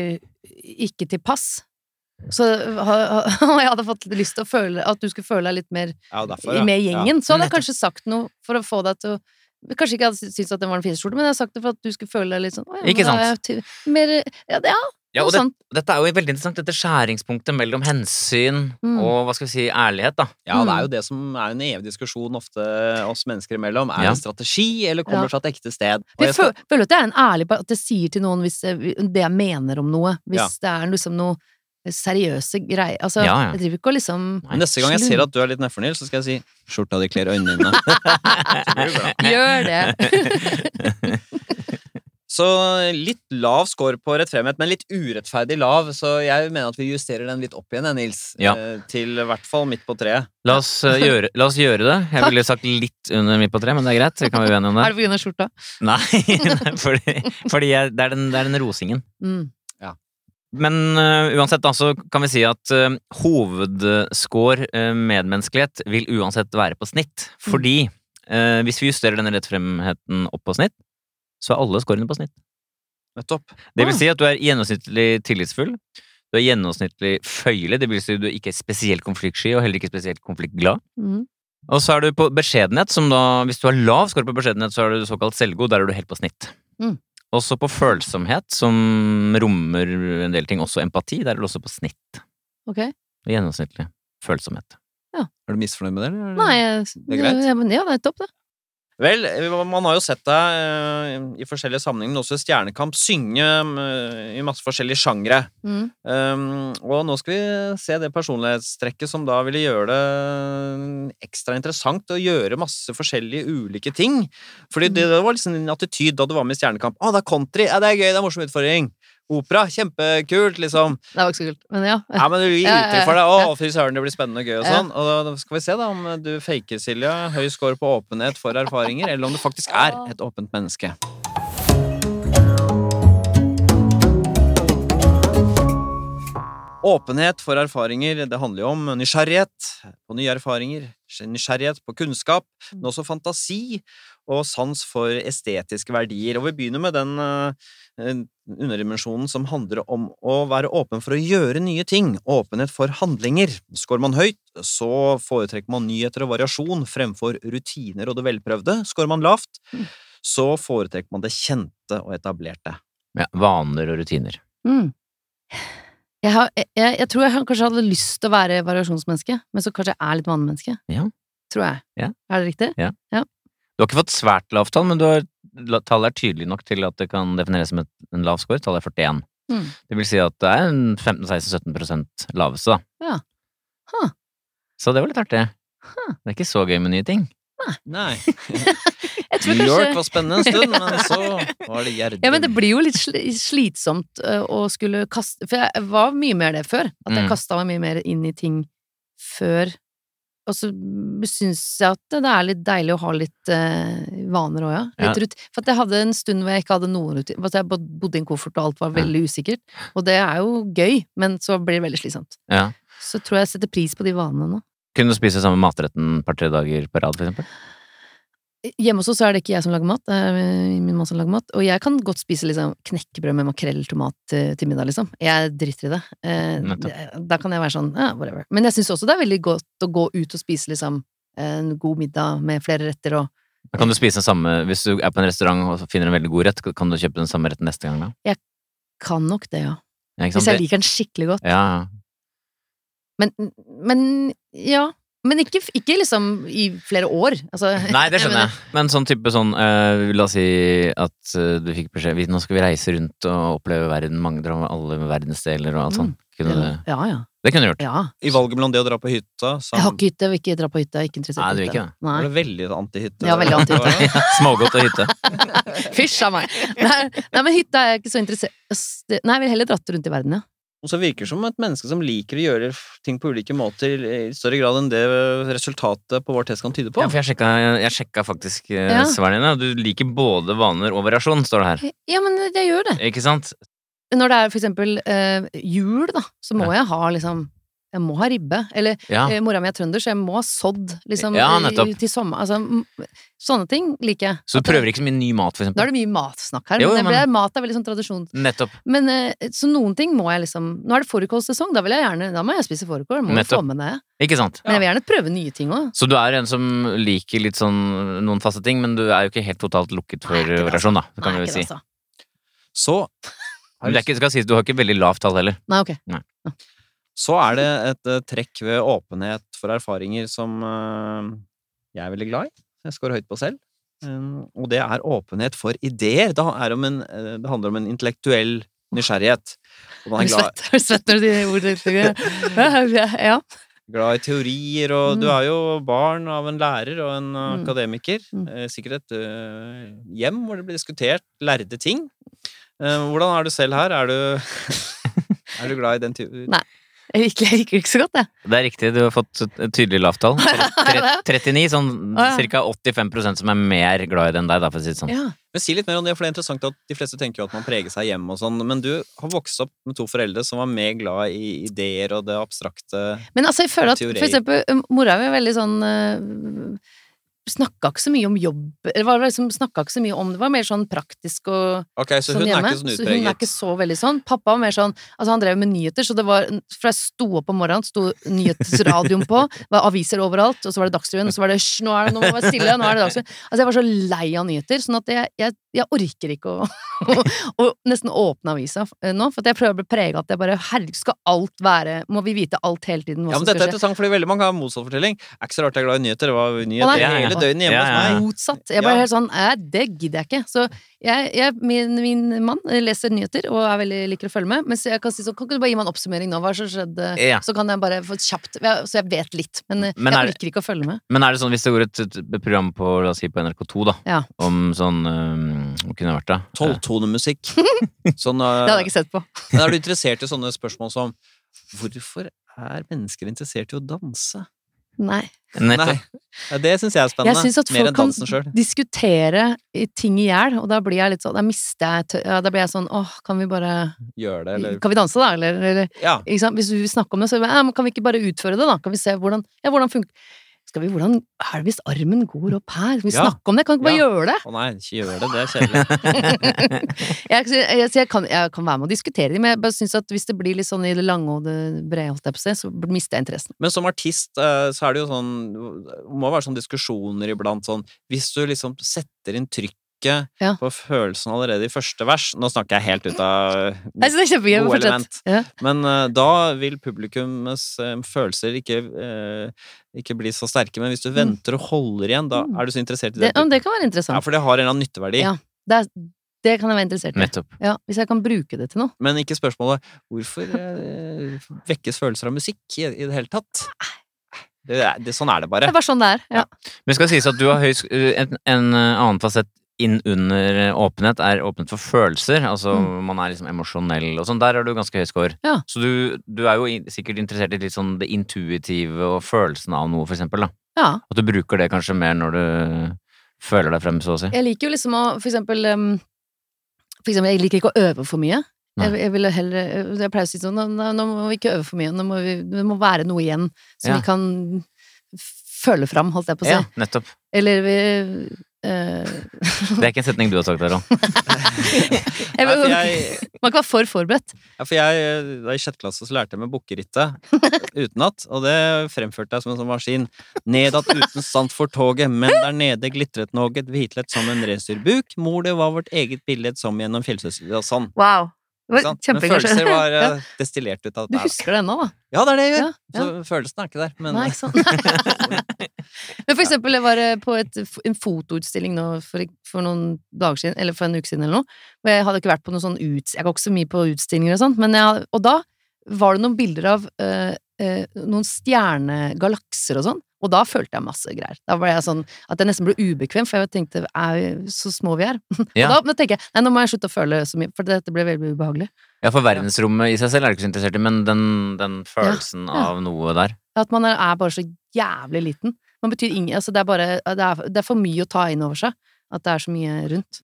S4: ikke til pass, så, ha- ha- og jeg hadde fått lyst til å føle at du skulle føle deg litt mer
S2: Ja, derfor,
S4: i-
S2: ja.
S4: med
S2: Ja.
S4: gjengen, så hadde jeg kanskje sagt noe for å få deg til å Kanskje ikke hadde syntes at den var den fineste skjorten, men jeg hadde sagt det for at du skulle føle deg litt sånn «Å ja, men
S3: Ikke
S4: da er jeg ty- Mer, ja, det- ja,
S3: Ja,
S4: Noe
S3: og det,
S4: sånt.
S3: dette er jo veldig interessant, dette skjæringspunktet mellom hensyn
S4: Mm.
S3: og hva skal vi si, ærlighet, da.
S2: Ja, det er jo det som er en evig diskusjon ofte oss mennesker imellom. Er
S3: Ja.
S2: det strategi, eller kommer
S4: Ja.
S2: det fra et ekte sted? Og
S4: Jeg
S2: jeg skal,
S4: føl- føler at det er en ærlig på At jeg sier til noen hvis jeg, det jeg mener om noe. Hvis
S2: Ja.
S4: det er liksom noe seriøse greier. Altså,
S3: Ja, ja.
S4: jeg driver ikke og liksom
S2: neste gang jeg ser at du er litt nedfor, Nils, så skal jeg si 'skjorta di kler øynene dine'. Så blir det bra.
S4: Gjør det!
S2: Så litt lav score på rettferdighet, men litt urettferdig lav. Så jeg mener at vi justerer den litt opp igjen, jeg, Nils.
S3: Ja.
S2: Eh, Til i hvert fall midt på treet.
S3: La oss, eh, gjøre, la oss gjøre det. Jeg ville sagt litt under midt på tre, men det er greit. Vi kan være uenige om det.
S4: Er det på grunn av skjorta?
S3: Nei, nei, fordi, fordi jeg, det, er den, det er den rosingen.
S4: Mm.
S3: Men eh, uansett, da, så kan vi si at uh, hovedscore eh, medmenneskelighet vil uansett være på snitt. Fordi eh, hvis vi justerer denne rettfremheten opp på snitt, så er alle scorene på snitt.
S2: Nettopp.
S3: Det
S4: Ah.
S3: vil si at du er gjennomsnittlig tillitsfull. Du er gjennomsnittlig føyelig, det vil si at du er ikke er spesielt konfliktsky og heller ikke spesielt konfliktglad.
S4: Mm.
S3: Og så er du på beskjedenhet, som da, hvis du har lav score på beskjedenhet, så er du såkalt selvgod, der er du helt på snitt.
S4: Mm.
S3: Og så på følsomhet, som rommer en del ting, også empati, der er du også på snitt.
S4: Ok.
S3: Gjennomsnittlig følsomhet.
S2: Er du misfornøyd med det, eller?
S4: Nei, jeg-
S2: er greit.
S4: Ja, men ja, det er topp, det.
S2: Vel, man har jo sett deg eh, i forskjellige sammenhenger, men også i Stjernekamp, synge eh, i masse forskjellige sjangre.
S4: Mm.
S2: Um, og nå skal vi se det personlighetstrekket som da ville gjøre det ekstra interessant å gjøre masse forskjellige ulike ting. Fordi det, det var liksom din attityd da du var med i Stjernekamp. Å, det er country! Ja, det er gøy! Det er en morsom utfordring! Opera! Kjempekult! Liksom.
S4: Det var ikke så kult, men ja.
S2: Ja, men du gir
S4: Ja, ja,
S2: uttrykk for det.
S4: ja.
S2: Å, fy søren, det blir spennende og gøy og
S4: Ja.
S2: sånn. Og da skal vi se da om du faker, Silja, høy score på åpenhet for erfaringer, eller om du faktisk er et åpent menneske. Åpenhet for erfaringer, det handler jo om nysgjerrighet på nye erfaringer, nysgjerrighet på kunnskap, men også fantasi og sans for estetiske verdier. Og vi begynner med den eh, eh, underdimensjonen som handler om å være åpen for å gjøre nye ting, åpenhet for handlinger. Skårer man høyt, så foretrekker man nyheter og variasjon fremfor rutiner og det velprøvde. Skårer man lavt,
S4: Mm.
S2: så foretrekker man det kjente og etablerte.
S3: Ja, vaner og rutiner.
S4: Mm. Jeg, har, jeg, jeg, jeg tror jeg har- kanskje hadde lyst til å være variasjonsmenneske, men så kanskje jeg er litt vanemenneske.
S3: Ja.
S4: Tror jeg.
S3: Ja.
S4: Er det riktig?
S3: Du har ikke fått svært lavt tall, men du har, la- tallet er tydelig nok til at det kan defineres som et, en lav score. Tallet er 41.
S4: Mm.
S3: Det vil si at det er en 15-16-17 prosent laveste, da.
S4: Ja. Huh.
S3: Så det var litt artig. Det er ikke så gøy med nye ting.
S2: Nei,
S4: Jeg tror
S2: New York
S4: kanskje
S2: var spennende en stund, men så var det Gjerdrum.
S4: ja, men det blir jo litt sli- slitsomt ø, å skulle kaste For jeg var mye mer det før. At jeg
S3: Mm.
S4: kasta meg mye mer inn i ting før. Og så syns jeg at det er litt deilig å ha litt ø, vaner òg, ja. Litt
S3: Ja.
S4: rut- For at jeg hadde en stund hvor jeg ikke hadde noen rutiner. At jeg bod- bodde i en koffert, og alt var
S3: Ja.
S4: veldig usikkert. Og det er jo gøy, men så blir det veldig slitsomt.
S3: Ja.
S4: Så tror jeg jeg setter pris på de vanene nå.
S3: Kunne du spise samme matretten et par-tre dager på rad, for eksempel?
S4: Hjemme hos oss så er det ikke jeg som lager mat, det er eh, min mann som lager mat. Og jeg kan godt spise liksom, knekkebrød med makrell tomat eh, til middag, liksom. Jeg driter i det. Eh,
S3: Nettopp.
S4: det- Da kan jeg være sånn, ja, whatever. Men jeg syns også det er veldig godt å gå ut og spise liksom, en god middag med flere retter og
S3: Da Kan du spise den samme, Hvis du er på en restaurant og finner en veldig god rett, kan du kjøpe den samme retten neste gang? da?
S4: Kan nok det, ja.
S3: Ja, ikke
S4: Hvis
S3: sant?
S4: jeg liker den skikkelig godt.
S3: Ja, ja.
S4: Men, men ja. Men ikke, ikke liksom i flere år. Altså,
S3: Nei, det skjønner jeg. Men sånn type sånn eh, La oss si at eh, du fikk beskjed vi, Nå skal vi reise rundt og oppleve verden, mange dra alle verdensdeler og alt sånt. Kunne
S4: Mm. Ja,
S3: du,
S4: ja.
S3: det kunne du gjort.
S4: ja.
S2: I valget mellom det å dra på hytta
S4: Jeg har
S2: samt
S4: ikke hytte, jeg vil ikke dra på hytta. jeg er Ikke interessert
S3: Sånn. Nei,
S4: i
S3: du
S4: hytte.
S3: er ikke det.
S4: Nei.
S2: Var det veldig antihytte?
S4: Ja, veldig antihytte.
S3: Smågodt og hytte.
S4: Fysj a meg! Nei, nei, men hytta er jeg ikke så interessert Ass, det- Nei, jeg ville heller dratt rundt i verden, ja.
S2: Og så virker det som et menneske som liker å gjøre f- ting på ulike måter i større grad enn det resultatet på vår test kan tyde på.
S3: Ja, for jeg sjekka, jeg sjekka faktisk eh,
S4: Ja.
S3: svarene dine. Du liker både vaner og variasjon, står det her.
S4: Ja, men jeg gjør det.
S3: Ikke sant?
S4: Når det er for eksempel eh, jul, da, så må jeg ha liksom Jeg må ha ribbe. Eller
S3: Ja.
S4: eh, mora mi er trønder, så jeg må ha sådd, liksom,
S3: Ja,
S4: i-
S3: nettopp.
S4: til sommer. Altså, m- sånne ting liker jeg.
S3: Så
S4: At
S3: du
S4: det-
S3: prøver ikke så mye ny mat, for
S4: Da er
S3: eksempel?
S4: det mye matsnakk her,
S3: Jo,
S4: men,
S3: jo,
S4: det
S3: men-
S4: blir- mat er veldig sånn tradisjon.
S3: Nettopp.
S4: Men eh, så noen ting må jeg liksom Nå er det fårikålsesong, da vil jeg gjerne Da må jeg spise fårikål, må jo
S3: Nettopp.
S4: få med det.
S3: Ikke sant?
S4: Men jeg vil gjerne prøve nye ting òg.
S3: Så du er en som liker litt sånn noen faste ting, men du er jo ikke helt totalt lukket for
S4: altså. Nei, ikke det, altså.
S3: variasjon, da. Det kan vi jo si.
S2: Så
S3: Men det er ikke, skal sies, du har ikke veldig lavt tall heller.
S4: Nei, ok.
S2: Så er det et eh, trekk ved åpenhet for erfaringer som eh, jeg er veldig glad i. Jeg scorer høyt på selv. Eh, og det er åpenhet for ideer. Det, er om en, eh, det handler om en intellektuell nysgjerrighet. Og
S4: Er
S2: man er
S4: du svett,
S2: glad,
S4: er du svett når du sier ordet? Sigurd? Ja.
S2: glad i teorier, og du
S4: Mm.
S2: er jo barn av en lærer og en
S4: Mm.
S2: akademiker.
S4: Mm.
S2: Eh, Sikkert et eh, hjem hvor det blir diskutert lærde ting. Eh, Hvordan er du selv her? Er du, er du glad i den type
S4: Nei. Jeg liker jeg liker det ikke så godt, jeg.
S3: Det er riktig, du har fått et et tydelig lavt tall. Tre- 39, sånn
S4: Å, ja.
S3: ca. 85 som er mer glad i det enn deg, da, for å si det sånn.
S4: Ja.
S2: Men si litt mer om det, for det er interessant at de fleste tenker jo at man preger seg hjemme og sånn, men du har vokst opp med to foreldre som var mer glad i ideer og det abstrakte
S4: Men altså, jeg føler at
S2: Teori.
S4: for eksempel eh, mora mi er veldig sånn uh, Snakka ikke så mye om jobb Eller var liksom, snakka ikke så mye om det. Var mer sånn praktisk og
S2: Ok, så
S4: sånn
S2: hun er
S4: hjemme.
S2: ikke sånn
S4: så hun er ikke
S2: utpreget.
S4: så veldig sånn. Pappa var mer sånn Altså, han drev med nyheter, så det var For jeg sto opp om morgenen, sto nyhetsradioen på, var aviser overalt, og så var det Dagsrevyen, og så var det Hysj, nå er det, nå må vi være stille, nå er det Dagsrevyen. Altså, jeg var så lei av nyheter, sånn at jeg, jeg, jeg orker ikke å, å, å nesten åpne avisa eh, nå, for at jeg prøver å bli prega at jeg bare Herregud, skal alt være Må vi vite alt hele tiden? Hva
S2: Ja, men
S4: som skal
S2: dette er
S4: skje?
S2: interessant, fordi veldig mange har motsatt fortelling. Er ikke så rart jeg er glad i nyheter. Det var
S4: Å,
S2: nyheter
S4: nei.
S2: hele døgnet hjemme
S3: Ja, ja, ja.
S2: hos meg.
S4: motsatt. Jeg ble
S2: Ja.
S4: helt sånn Æ, det gidder jeg ikke. Så jeg, jeg, min, min mann leser nyheter og er veldig, liker å følge med. Men så jeg kan si sånn, kan ikke du bare gi meg en oppsummering nå? Hva som skjedde?
S3: Ja.
S4: Så kan jeg bare få kjapt ja, Så jeg vet litt. Men, eh,
S3: Men er
S4: jeg
S3: det-
S4: orker ikke å følge med.
S3: Men er det sånn, hvis det går et, et program på, la oss si, på NRK2, da,
S4: Ja,
S3: om sånn øhm, Hva kunne det vært, da?
S2: Tolvtonemusikk. Sånn,
S4: Det
S2: eh,
S4: hadde jeg ikke sett på.
S2: men er du interessert i sånne spørsmål som Hvorfor er mennesker interessert i å danse?
S4: Nei.
S2: Nei,
S3: Nettopp.
S2: ja, det syns jeg er
S4: Jeg
S2: spennende.
S4: syns at
S2: Mer
S4: folk
S2: enn
S4: kan
S2: dansen sjøl.
S4: diskutere i- ting i hjel, og da blir jeg litt sånn Da mister jeg tø ja, Da blir jeg sånn Åh, kan vi bare
S2: Gjør det, eller
S4: Kan vi danse, da? Eller, eller
S2: Ja.
S4: ikke sant? Hvis du vil snakke om det, så er det, ja, men kan vi ikke bare utføre det, da? Kan vi se hvordan, ja, hvordan funker Skal vi, hvordan er det hvis armen går opp her? Skal vi
S2: Ja.
S4: snakke om det? Kan vi ikke bare
S2: Ja.
S4: gjøre det?
S2: Å nei, ikke gjør det. Det er kjedelig.
S4: Jeg, jeg, jeg, kan, jeg kan være med og diskutere det, men jeg bare syns at hvis det blir litt sånn i det lange og det brede, holdt jeg på å si, så mister jeg interessen.
S2: Men som artist eh, så er det jo sånn Det må være sånn diskusjoner iblant sånn Hvis du liksom setter inn trykket
S4: Ja.
S2: på følelsen allerede i første vers Nå snakker jeg helt ut av
S4: Jeg synes det er kjempegøy.
S2: God
S4: men Fortsett. Ja.
S2: Men eh, da vil publikums eh, følelser ikke, eh, ikke bli så sterke. Men hvis du venter og holder igjen, da
S4: Mm.
S2: er du så interessert i
S4: Det,
S2: det.
S4: ja, men det kan være
S2: Ja,
S4: interessant.
S2: for det har en eller annen nytteverdi.
S4: Ja. Det, er, det kan jeg være interessert i.
S3: Nettopp.
S4: Ja, hvis jeg kan bruke det til noe.
S2: Men ikke spørsmålet hvorfor eh, vekkes følelser av musikk i, i det hele tatt? Det, er- det, sånn er det
S4: Det
S2: bare.
S4: er bare sånn det er. Ja.
S3: Men det skal sies at du har høy sk- øh, en, en øh, annen fasett inn under øh, åpenhet er åpenhet for følelser. Altså
S4: Mm.
S3: man er liksom emosjonell og sånn. Der har du ganske høy score.
S4: Ja.
S3: Så du, du er jo i- sikkert interessert i litt sånn det intuitive og følelsen av noe, for eksempel. Da.
S4: ja.
S3: At du bruker det kanskje mer når du føler deg frem, så å si.
S4: Jeg liker jo liksom å for eksempel, em, for eksempel Jeg liker ikke å øve for mye. Jeg,
S3: Nei.
S4: jeg, ville heller, jeg pleier å si sånn nå, nå nå må vi ikke øve for mye. Nå må vi, det må være noe igjen som
S3: Ja.
S4: vi kan føle fram, holdt jeg på å si.
S3: Ja, nettopp.
S4: Eller vi eh,
S3: Det er ikke en setning du har sagt, Harald.
S4: jeg,
S2: Nei, for
S4: vil-
S2: jeg,
S4: Man kan være for forberedt.
S2: Ja, for jeg, da I sjette klasse så lærte jeg meg bukkerittet utenat, og det fremførte jeg som en sånn maskin. Nedat uten sant for toget, men der nede glitret noget hvitlett som en reinsdyrbuk. Mor, det var vårt eget billed som gjennom fjellsøs... Ja, sånn.
S4: Wow.
S2: ikke sant? Men følelser var eh,
S4: Ja.
S2: destillert ut av
S4: Du
S2: det.
S4: husker det ennå, da?
S2: Ja, det er det jeg
S4: Ja,
S2: gjør!
S4: ja.
S2: Så følelsen er ikke der. Men eh,
S4: Nei, ikke sant? Men for eksempel, jeg var eh, på et, f- en fotoutstilling nå for, for noen dager siden, eller for en uke siden eller noe, og jeg hadde ikke vært på noen sånn ut... Jeg går ikke så mye på utstillinger og sånt, men jeg hadde, og da var det noen bilder av eh, eh, noen stjernegalakser og sånn, og da følte jeg masse greier. Da ble jeg sånn at jeg nesten ble ubekvem, for jeg tenkte, er vi så små vi er?
S3: Ja.
S4: Og da, da tenker jeg, nei, nå må jeg slutte å føle så mye, for dette ble veldig ubehagelig.
S3: Ja, for verdensrommet i seg selv er du ikke så interessert i, men den, den følelsen
S4: ja.
S3: av noe der.
S4: At man er, er bare så jævlig liten. Man betyr ingen, altså det er bare, det er, det er for mye å ta inn over seg, at det er så mye rundt.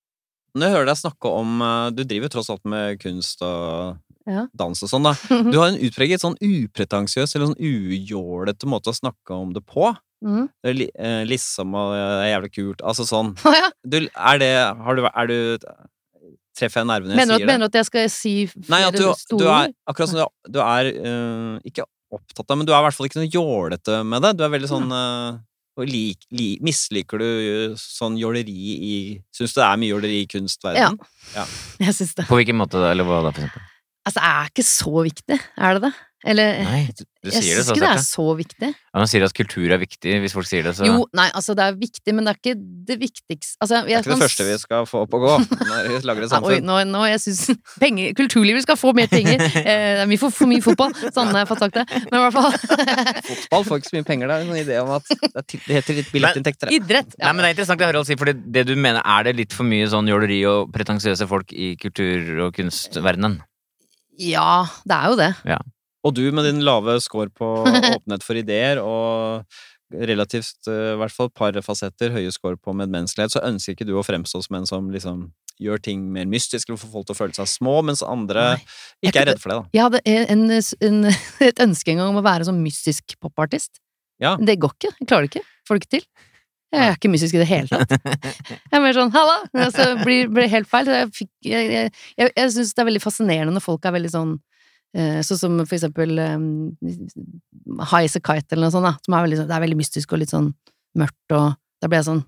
S2: når jeg hører deg snakke om eh, Du driver jo tross alt med kunst og
S4: Ja.
S2: dans og sånn, da. Du har en utpreget sånn upretensiøs eller sånn ujålete måte å snakke om det på.
S4: Mhm.
S2: Det er li- eh, Liksom og eh, det er jævlig kult. Altså sånn
S4: Å, ja.
S2: du, er det har du, er du, Treffer jeg nervene
S4: mener, du at,
S2: når jeg sier det?
S4: mener du at jeg skal si flere
S2: Nei, at du,
S4: store
S2: du er
S4: ord?
S2: akkurat som du, du er eh, Ikke opptatt av, men du er i hvert fall ikke noe jålete med det. Du er veldig sånn eh, Og lik, li, misliker du eh, sånn jåleri i Syns du det er mye jåleri i
S4: Ja.
S2: kunstverdenen?
S4: Jeg syns det.
S3: På hvilken måte da, eller hva da, for eksempel?
S4: Altså, det er ikke så viktig, er det det? Eller
S3: Nei, du, du
S4: Eh, Jeg
S3: sier det
S4: syns
S3: så
S4: ikke det er
S3: sterkt.
S4: så viktig.
S3: ja. Ja, man sier at kultur er viktig, hvis folk sier det, så
S4: Jo, nei, altså det er viktig, men det er ikke det viktigste altså,
S2: Det
S4: jeg
S2: er ikke
S4: kan
S2: det første vi skal få opp og gå når vi lager et
S4: Nei, Oi,
S2: samfunn.
S4: nå, nå jeg synes penger, Kulturlivet skal få mer penger. Eh, det er mye for, for mye fotball, sånn har jeg fått sagt det. Men i hvert fall
S2: Fotball får ikke så mye penger der. En idé om at det er til- det heter litt billettinntekter. ja.
S4: idrett.
S3: Nei, men Det er interessant det Harald sier, fordi det du mener er det litt for mye sånn jåleri og pretensiøse folk i kultur- og kunstverdenen?
S4: Ja, det er jo det.
S2: Og du med din lave score på åpenhet for ideer og relativt, eh, i hvert fall et par fasetter, høye score på medmenneskelighet, så ønsker ikke du å fremstå som en som liksom gjør ting mer mystisk eller får folk til å føle seg små, mens andre
S4: Nei.
S2: ikke
S4: Jeg
S2: er redde for det, da.
S4: Jeg hadde en, en, et ønske en gang om å være sånn mystisk popartist.
S2: Ja.
S4: Men Det går ikke. Jeg klarer det ikke. Får det ikke til. Jeg er ikke mystisk i det hele tatt. Jeg er mer sånn 'halla', og så blir blir det helt feil. Så jeg fikk, jeg jeg, jeg, jeg syns det er veldig fascinerende når folk er veldig sånn eh, Sånn som for eksempel eh, High as a kite eller noe sånt, da, som er veldig, sånn- det er veldig mystisk og litt sånn mørkt, og da ble jeg sånn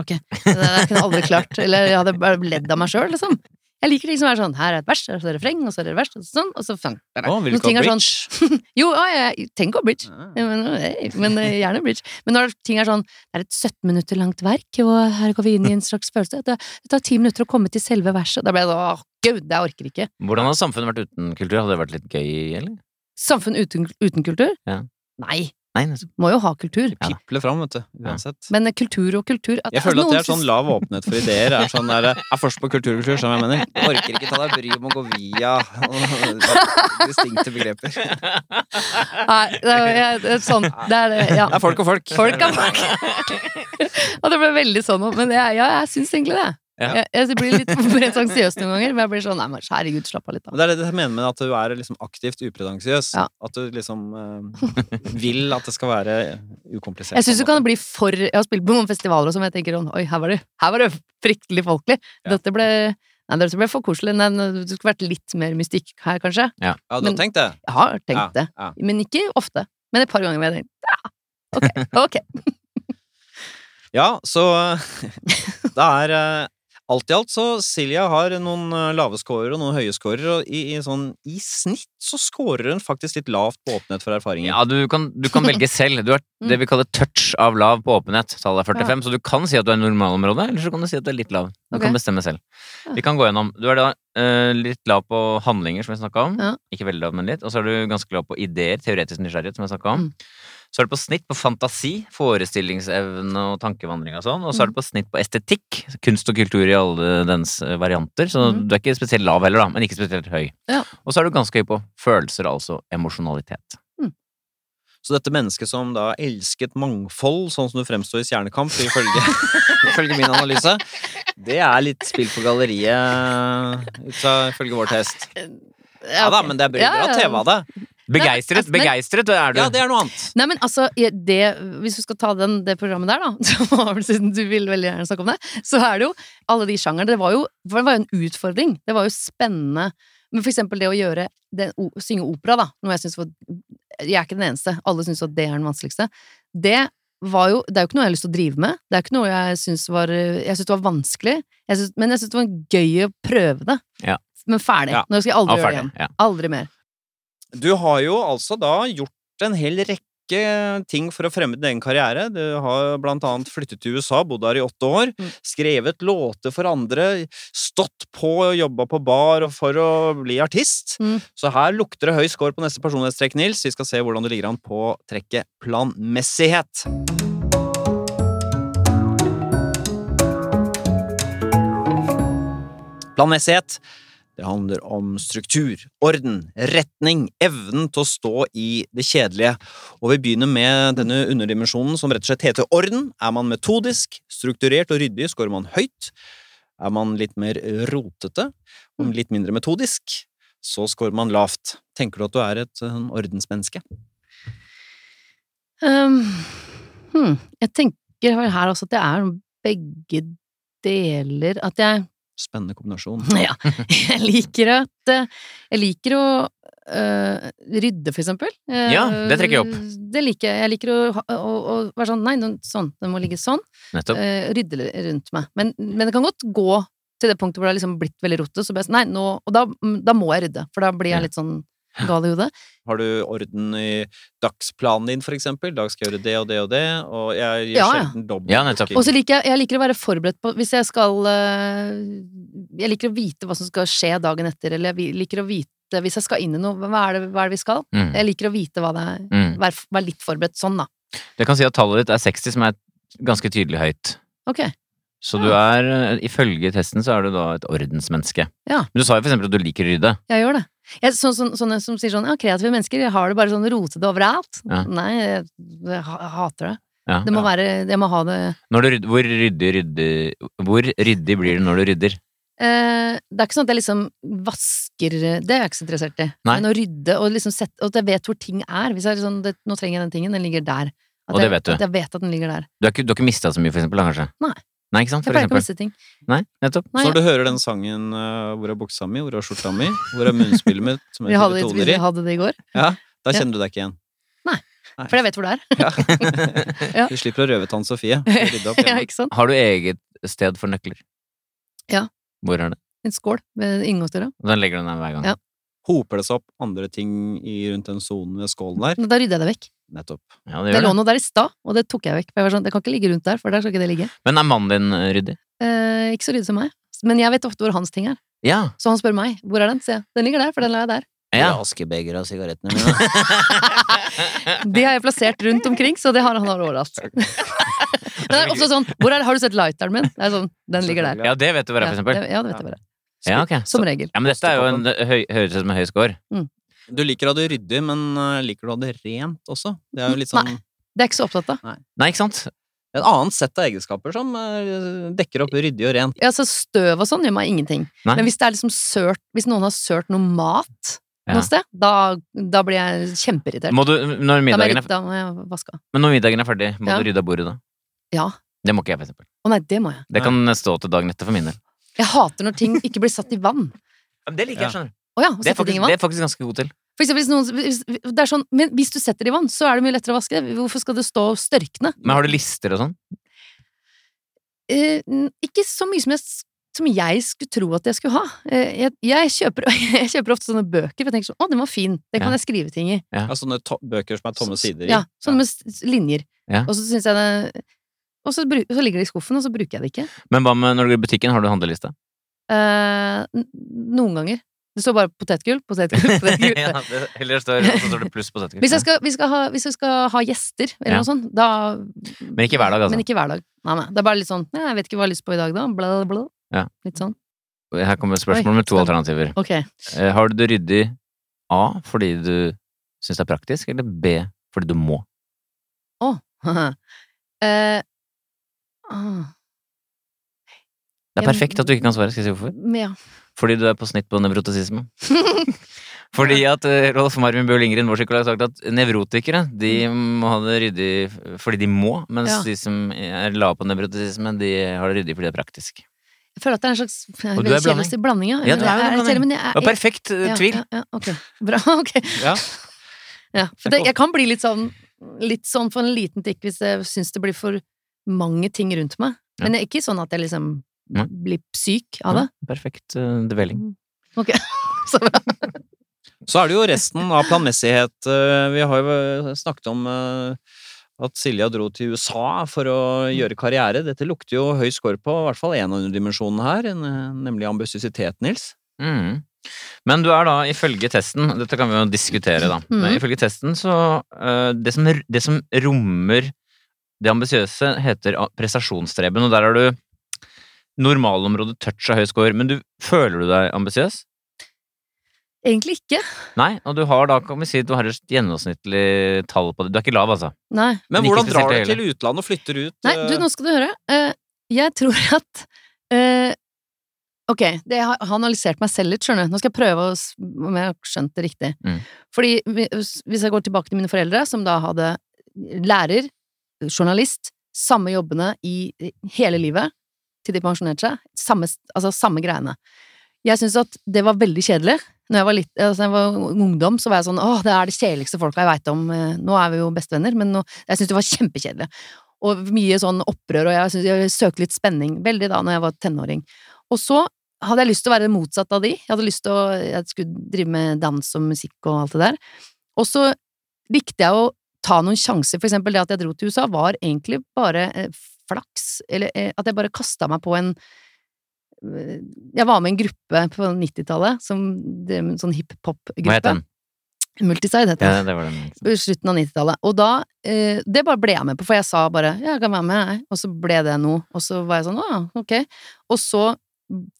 S4: Ok, det der kunne jeg aldri klart. Eller jeg hadde bare ledd av meg sjøl, liksom. Jeg liker ting som er sånn Her er et vers, her er et refreng, og så er det et vers, og sånn, og så sånn.
S2: Å, vil
S4: Noen
S2: du ikke
S4: ting
S2: ha
S4: er
S2: bridge?
S4: sånn Jo, ja, jeg tenker på bridge.
S2: Ah.
S4: Ja, Men, eh, men eh, gjerne bridge. Men når ting er sånn Det er et 17 minutter langt verk, og her går vi inn i en slags følelse. Det, det tar 10 minutter å komme til selve verset. Da ble jeg sånn Åh, gud, det orker jeg ikke.
S3: Hvordan hadde samfunnet vært uten kultur? Hadde det vært litt gøy, eller?
S4: Samfunn uten, uten kultur?
S3: Ja.
S4: Nei.
S3: Nei, nettopp.
S4: Må jo ha kultur.
S3: Ja da.
S2: Piple fram, vet du.
S3: Ja.
S2: Uansett.
S4: Men eh, kultur og kultur at-
S2: Jeg føler at det
S4: noen
S2: er sånn
S4: syns-
S2: lav åpenhet for ideer. Er sånn der, er først på kulturkultur, skjønner du hva jeg mener. Orker ikke ta deg bryet om å gå via distinkte begreper.
S4: Nei, det er, jeg- det er sånn Det er det, ja.
S2: Det er folk og folk.
S4: Folk er folk. og det ble veldig sånn nå, men jeg, ja, jeg syns egentlig det.
S3: Ja.
S4: Jeg, jeg blir litt pretensiøs noen ganger, men jeg blir sånn nei, men herregud, slapp av litt, da.
S2: Men det er det jeg mener med at du er liksom aktivt upretensiøs.
S4: Ja.
S2: At du liksom eh, vil at det skal være eh, ukomplisert.
S4: Jeg syns det
S2: på en
S4: kan bli for Jeg har spilt på noen festivaler også, men jeg tenker sånn Oi, her var det, her var det fryktelig folkelig.
S2: Ja.
S4: Dette ble Nei, dette ble for koselig. Nei, nei, det skulle vært litt mer mystikk her, kanskje.
S2: måte. Ja, du
S4: men-
S2: har tenkt det?
S4: Jeg har tenkt det.
S2: Ja, ja.
S4: Men ikke ofte. Men et par ganger har jeg tenkt ja, ok, ok.
S2: ja, så eh, det er eh, Alt i alt så Silja har noen eh, lave scorer og noen høye scorer, og i, i, sånn, i snitt så scorer hun faktisk litt lavt på åpenhet for erfaringer.
S3: Ja, du kan, du kan velge selv. Du har
S4: Mm.
S3: det vi kaller touch av lav på åpenhet. Tallet er 45, så du kan si at du er i normalområdet, eller så kan du si at du er litt lav. Du
S4: Ok.
S3: kan bestemme selv.
S4: Ja.
S3: Vi kan gå gjennom. Du er da eh, litt lav på handlinger, som vi snakka om.
S4: Ja.
S3: Ikke veldig lav, men litt. Og så er du ganske lav på ideer, teoretisk nysgjerrighet, som jeg snakka om.
S4: Mm.
S3: Så er du på snitt på fantasi, forestillingsevne og tankevandring og sånn. Og
S4: Mm.
S3: så er du på snitt på estetikk, kunst og kultur i alle dens eh, varianter. Så
S4: Mm.
S3: du er ikke spesielt lav heller, da, men ikke spesielt høy.
S4: Ja.
S3: Og så er du ganske høy på følelser, altså emosjonalitet.
S2: Så dette mennesket som da elsket mangfold, sånn som du fremstår i Stjernekamp, ifølge, ifølge min analyse, det er litt spill på galleriet, ut fra- ifølge vår test. Ja da, men det er bra,
S4: Ja,
S2: bra
S4: ja.
S2: TV av det.
S3: Begeistret,
S4: altså, men-
S3: begeistret er du.
S2: Ja, det er noe annet.
S4: Nei, men altså, jeg- det, hvis du skal ta den, det programmet der, da, som var- siden du vil veldig gjerne snakke om det, så er det jo alle de sjangerne Det var jo, for det var jo en utfordring. Det var jo spennende. Men for eksempel det å gjøre det, o- synge opera, da, noe jeg syns var Jeg er ikke den eneste. Alle syns at det er den vanskeligste. Det var jo, det er jo ikke noe jeg har lyst til å drive med. Det er ikke noe jeg syns var Jeg syns det var vanskelig, jeg synes, men jeg syns det var gøy å prøve det.
S3: Ja.
S4: Men ferdig.
S2: Ja.
S4: Nå skal jeg aldri gjøre
S3: Ja,
S4: det
S3: ferdig.
S4: igjen.
S3: Ja.
S4: Aldri mer.
S2: Du har jo altså da gjort en hel rekke ting for å fremme din egen karriere. Du har blant annet flyttet til USA, bodd der i åtte år,
S4: Mm.
S2: skrevet låter for andre, stått på og jobba på bar og for å bli artist.
S4: Mm.
S2: Så her lukter det høy score på neste personlighetstrekk, Nils. Vi skal se hvordan du ligger an på trekket planmessighet. Planmessighet det handler om struktur, orden, retning, evnen til å stå i det kjedelige. Og vi begynner med denne underdimensjonen som rett og slett heter orden. Er man metodisk, strukturert og ryddig, scorer man høyt. Er man litt mer rotete, og litt mindre metodisk, så scorer man lavt. Tenker du at du er et eh, ordensmenneske?
S4: Ehm, hmm, jeg tenker vel her også at jeg er begge deler. At jeg
S2: Spennende kombinasjon.
S4: Ja, jeg liker at eh, Jeg liker å øh, rydde, for eksempel. Eh,
S3: Ja, det trekker jeg
S4: Det liker jeg. Jeg liker å, ha- å, å være sånn Nei, den, sånn. Den må ligge sånn.
S3: Nettopp.
S4: Eh, rydde litt rundt meg. Men, men det kan godt gå til det punktet hvor det har liksom blitt veldig rotet. Så best, nei, nå, og da, mm, da må jeg rydde, for da blir
S3: Ja.
S4: jeg litt sånn gal i hodet.
S2: Har du orden i dagsplanen din, for eksempel? I dag skal jeg gjøre det og det og det, og jeg gjør
S4: Ja, ja.
S2: sjelden dobbelt.
S3: Ja, nettopp.
S4: Og så liker jeg, jeg liker å være forberedt på Hvis jeg skal eh, Jeg liker å vite hva som skal skje dagen etter, eller jeg vi- liker å vite Hvis jeg skal inn i noe, hva er det, hva er det vi skal?
S3: Mm.
S4: Jeg liker å vite hva det er.
S3: Mm.
S4: Være f- være litt forberedt sånn, da.
S3: Det kan si at tallet ditt er 60, som er ganske tydelig høyt.
S4: Ok.
S3: Så du er, eh, ifølge testen, så er du da et ordensmenneske.
S4: Ja.
S3: Men du sa jo for eksempel at du liker å rydde.
S4: Jeg gjør det. Jeg, så, så, sånne som sier sånn Ja, kreative mennesker, jeg har det bare sånn rotete overalt.
S3: Ja.
S4: Nei, jeg, jeg ha- hater det.
S3: Ja.
S4: Det må være Jeg må ha det
S3: Når du rydder, hvor, ryddig, ryddig, hvor ryddig blir du når du rydder?
S4: eh, Det er ikke sånn at jeg liksom vasker Det er jeg ikke så interessert i.
S3: Nei.
S4: Men å rydde og liksom sette Og at jeg vet hvor ting er. Hvis jeg er sånn det, Nå trenger jeg den tingen, den ligger der. At
S3: Og det
S4: jeg,
S3: vet du.
S4: At jeg vet at den ligger der.
S3: Du har ikke, du har ikke mista så mye, for eksempel, da, kanskje?
S4: Nei.
S3: Nei, ikke sant?
S4: Jeg
S3: For
S4: pleier ikke å
S3: eksempel.
S4: miste ting.
S3: Nei, nettopp.
S4: Nei,
S2: Så når du hører den sangen eh, 'Hvor er buksa mi', 'Hvor er skjorta mi', 'Hvor er munnspillet mitt', som
S4: vi
S2: jeg
S4: hadde,
S2: fyller
S4: vi
S2: toner i,
S4: hadde det i går.
S2: da
S4: ja.
S2: kjenner du deg ikke igjen.
S4: For jeg vet hvor det er. Ja.
S2: Du slipper å røve tann Sofie. og rydde opp
S4: ja,
S2: hjemme.
S4: ikke sant?
S3: Har du eget sted for nøkler?
S4: Ja.
S3: Hvor er det?
S4: En skål ved inngangsdøra.
S3: Den legger du ned hver gang.
S4: Ja.
S2: Hoper det seg opp andre ting i, rundt den sonen ved skålen der?
S4: Da rydder jeg det vekk.
S2: Nettopp.
S3: Ja, det
S4: Det
S3: gjør
S4: lå
S3: det.
S4: noe der i stad, og det tok jeg vekk. For jeg var sånn, det kan ikke ligge rundt der, for der skal ikke det ligge.
S3: Men er mannen din eh, ryddig?
S4: Eh, ikke så ryddig som meg. Men jeg vet ofte hvor hans ting er.
S3: Ja.
S4: Så han spør meg hvor er den sier jeg. Den ligger der, for den la jeg der.
S3: ja.
S2: Askebeger av sigarettene mine.
S4: De har jeg plassert rundt omkring, så det har han overalt. Men det er også sånn hvor er, Har du sett lighteren min? Det er sånn, Den ligger der.
S3: ja, det vet du hvor er, for
S4: Ja,
S3: eksempel.
S4: det, ja, det vet jeg bare.
S3: Ja, ok.
S4: Som regel.
S3: Ja, men dette er jo en det høy, høres ut som en høy score.
S2: Du liker å ha det ryddig, men eh, liker du å ha det rent også? Det er jo litt sånn
S4: Det er jeg ikke så opptatt av.
S3: Nei, ikke sant?
S2: et annet sett av egenskaper som eh, dekker opp ryddig og rent.
S4: Ja, så støv og sånn gjør meg ingenting.
S3: Nei.
S4: Men hvis det er liksom sørt Hvis noen har sørt noe mat
S3: Ja.
S4: noe sted, da, da blir jeg kjempeirritert.
S3: Må du, når,
S4: Da må jeg,
S3: middagen
S4: rydde-
S3: er,
S4: da må jeg vaske av.
S3: men når middagen er ferdig, må
S4: Ja.
S3: du rydde av bordet da?
S4: Ja.
S3: Det må ikke jeg, for eksempel.
S4: Å nei, det må jeg.
S3: Det kan stå til dagen etter for min del.
S4: Jeg hater når ting ikke blir satt i vann.
S3: Det liker
S2: jeg,
S3: skjønner du.
S4: Å ja, å
S3: Det er
S4: sette ting i
S3: faktisk,
S4: vann.
S3: det er faktisk ganske god til.
S4: For eksempel, hvis noen, hvis, det er sånn, men hvis du setter det i vann, så er det mye lettere å vaske. det. Hvorfor skal det stå og størkne?
S3: Men har du lister og sånn?
S4: Eh, n- ikke så mye som jeg, s- som jeg skulle tro at jeg skulle ha. Eh, jeg, jeg, kjøper, jeg kjøper ofte sånne bøker, for jeg tenker sånn Å, den var fin. Det kan
S3: Ja.
S4: jeg skrive ting i.
S2: Ja, sånne Altså, to bøker som er tomme sider i.
S4: Ja, sånn med s- s- linjer.
S3: Ja.
S4: Og så syns jeg det Og så, bru- så ligger det i skuffen, og så bruker jeg det ikke.
S3: Men hva med når du går i butikken, har du handleliste?
S4: Eh, n- noen ganger. Det står bare potetgull, potetgull, potetgull.
S3: Ja, det- Eller står, og så står det pluss på setningen.
S4: Hvis jeg skal, vi skal ha, hvis jeg skal ha gjester, eller
S3: Ja.
S4: noe sånt, da
S3: Men ikke hver dag, altså.
S4: Men ikke hver dag. Nei, nei. Det er bare litt sånn nei, 'Jeg vet ikke hva jeg har lyst på i dag, da.' Bla, bla, bla.
S3: Ja.
S4: Litt sånn.
S3: Her kommer et spørsmål med to
S4: Oi.
S3: alternativer.
S4: Ok.
S3: Eh, Har du det ryddig A fordi du syns det er praktisk, eller B fordi du må?
S4: Eh, ah,
S3: Det er
S4: Ja, men-
S3: perfekt at du ikke kan svare. Skal jeg si hvorfor?
S4: men ja.
S3: Fordi du er på snitt på nevrotesisme. Fordi at eh, Rolf Marvin Bøhl Ingrid, vår psykolog, har sagt at nevrotikere de må ha det ryddig f- fordi de må, mens
S4: Mm. Ja.
S3: de som er lave på nevrotesisme, de har det ryddig fordi det er praktisk.
S4: Jeg føler at det er en slags
S3: Og
S4: veldig
S3: du er blanding.
S4: kjedelig blanding, ja.
S3: Ja, du er jo
S4: Jeg
S3: en
S4: litt
S3: blanding.
S4: kjedelig, men jeg er-
S3: Det var perfekt eh,
S4: ja,
S3: tvil.
S4: Ja, ja, ok. Bra, ok.
S2: Ja.
S4: Ja, for det, jeg kan bli litt sånn, litt sånn for en liten tikk hvis jeg syns det blir for mange ting rundt meg.
S3: Ja.
S4: Men det er ikke sånn at jeg liksom
S3: Nei.
S4: blir syk av det.
S3: Ja, perfekt uh, dvelling.
S4: Så bra.
S2: Så er det jo resten av planmessighet. Eh, Vi har jo eh, snakket om eh, at Silja dro til USA for å
S4: Mm.
S2: gjøre karriere. Dette lukter jo høy score på i hvert fall en av underdimensjonene her, en, eh, nemlig ambisiøsitet, Nils.
S3: Mm. Men du er da, ifølge testen Dette kan vi jo diskutere, da.
S4: Mm.
S3: Men ifølge testen så eh, det, som, det som rommer det ambisiøse, heter a- prestasjonsstreben, og der er du normalområdet touch av høy score. Men du, føler du deg ambisiøs?
S4: Egentlig ikke.
S3: Nei, og du har da, kan vi si, du har et gjennomsnittlig tall på det. Du er ikke lav, altså.
S4: Nei.
S2: Men
S3: Men ikke
S2: hvordan drar
S3: spesielt
S2: du til utlandet og flytter ut?
S4: Nei,
S2: eh,
S4: du, nå skal du høre. Eh, jeg tror at eh, Ok, det, jeg har har analysert meg selv litt, skjønner du. Nå skal jeg prøve å s- om jeg har skjønt det riktig.
S3: Mm.
S4: Fordi vi- hvis hvis jeg går tilbake til mine foreldre, som da hadde lærer, journalist, samme jobbene i i hele livet, til de pensjonerte seg, samme, s- altså samme greiene. Jeg syns at det var veldig kjedelig. Når jeg var, litt, altså jeg var ungdom, så var jeg sånn Åh, det er det kjedeligste folka jeg veit om. Eh, Nå er vi jo bestevenner, men nå, jeg syntes de var kjempekjedelige. Og mye sånn opprør, og jeg, synes, jeg søkte litt spenning. Veldig da når jeg var tenåring. Og så hadde jeg lyst til å være motsatt av de. Jeg hadde lyst til å Jeg skulle drive med dans og musikk og alt det der. Og så likte jeg å ta noen sjanser. For eksempel det at jeg dro til USA, var egentlig bare eh, flaks. Eller eh, at jeg bare kasta meg på en eh, Jeg var med i en gruppe på 90-tallet, som drev med en sånn
S3: Hva het
S4: hiphop-gruppe.
S3: den?
S4: Multiside heter den
S3: Ja, det var den.
S4: i slutten av 90-tallet. Og da eh, Det bare ble jeg med på, for jeg sa bare 'ja, jeg kan være med', jeg. Og så ble det noe. Og så var jeg sånn 'å, ok'. Og så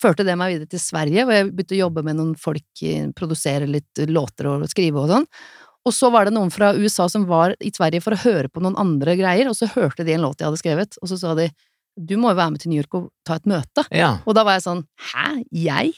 S4: førte det meg videre til Sverige, hvor jeg begynte å jobbe med noen folk, eh, produsere litt låter og skrive og sånn. Og så var det noen fra USA som var i Sverige for å høre på noen andre greier, og så hørte de en låt jeg hadde skrevet, og så sa de 'du må jo være med til New York og ta et møte'.
S3: Ja.
S4: Og da var jeg sånn 'hæ, jeg?'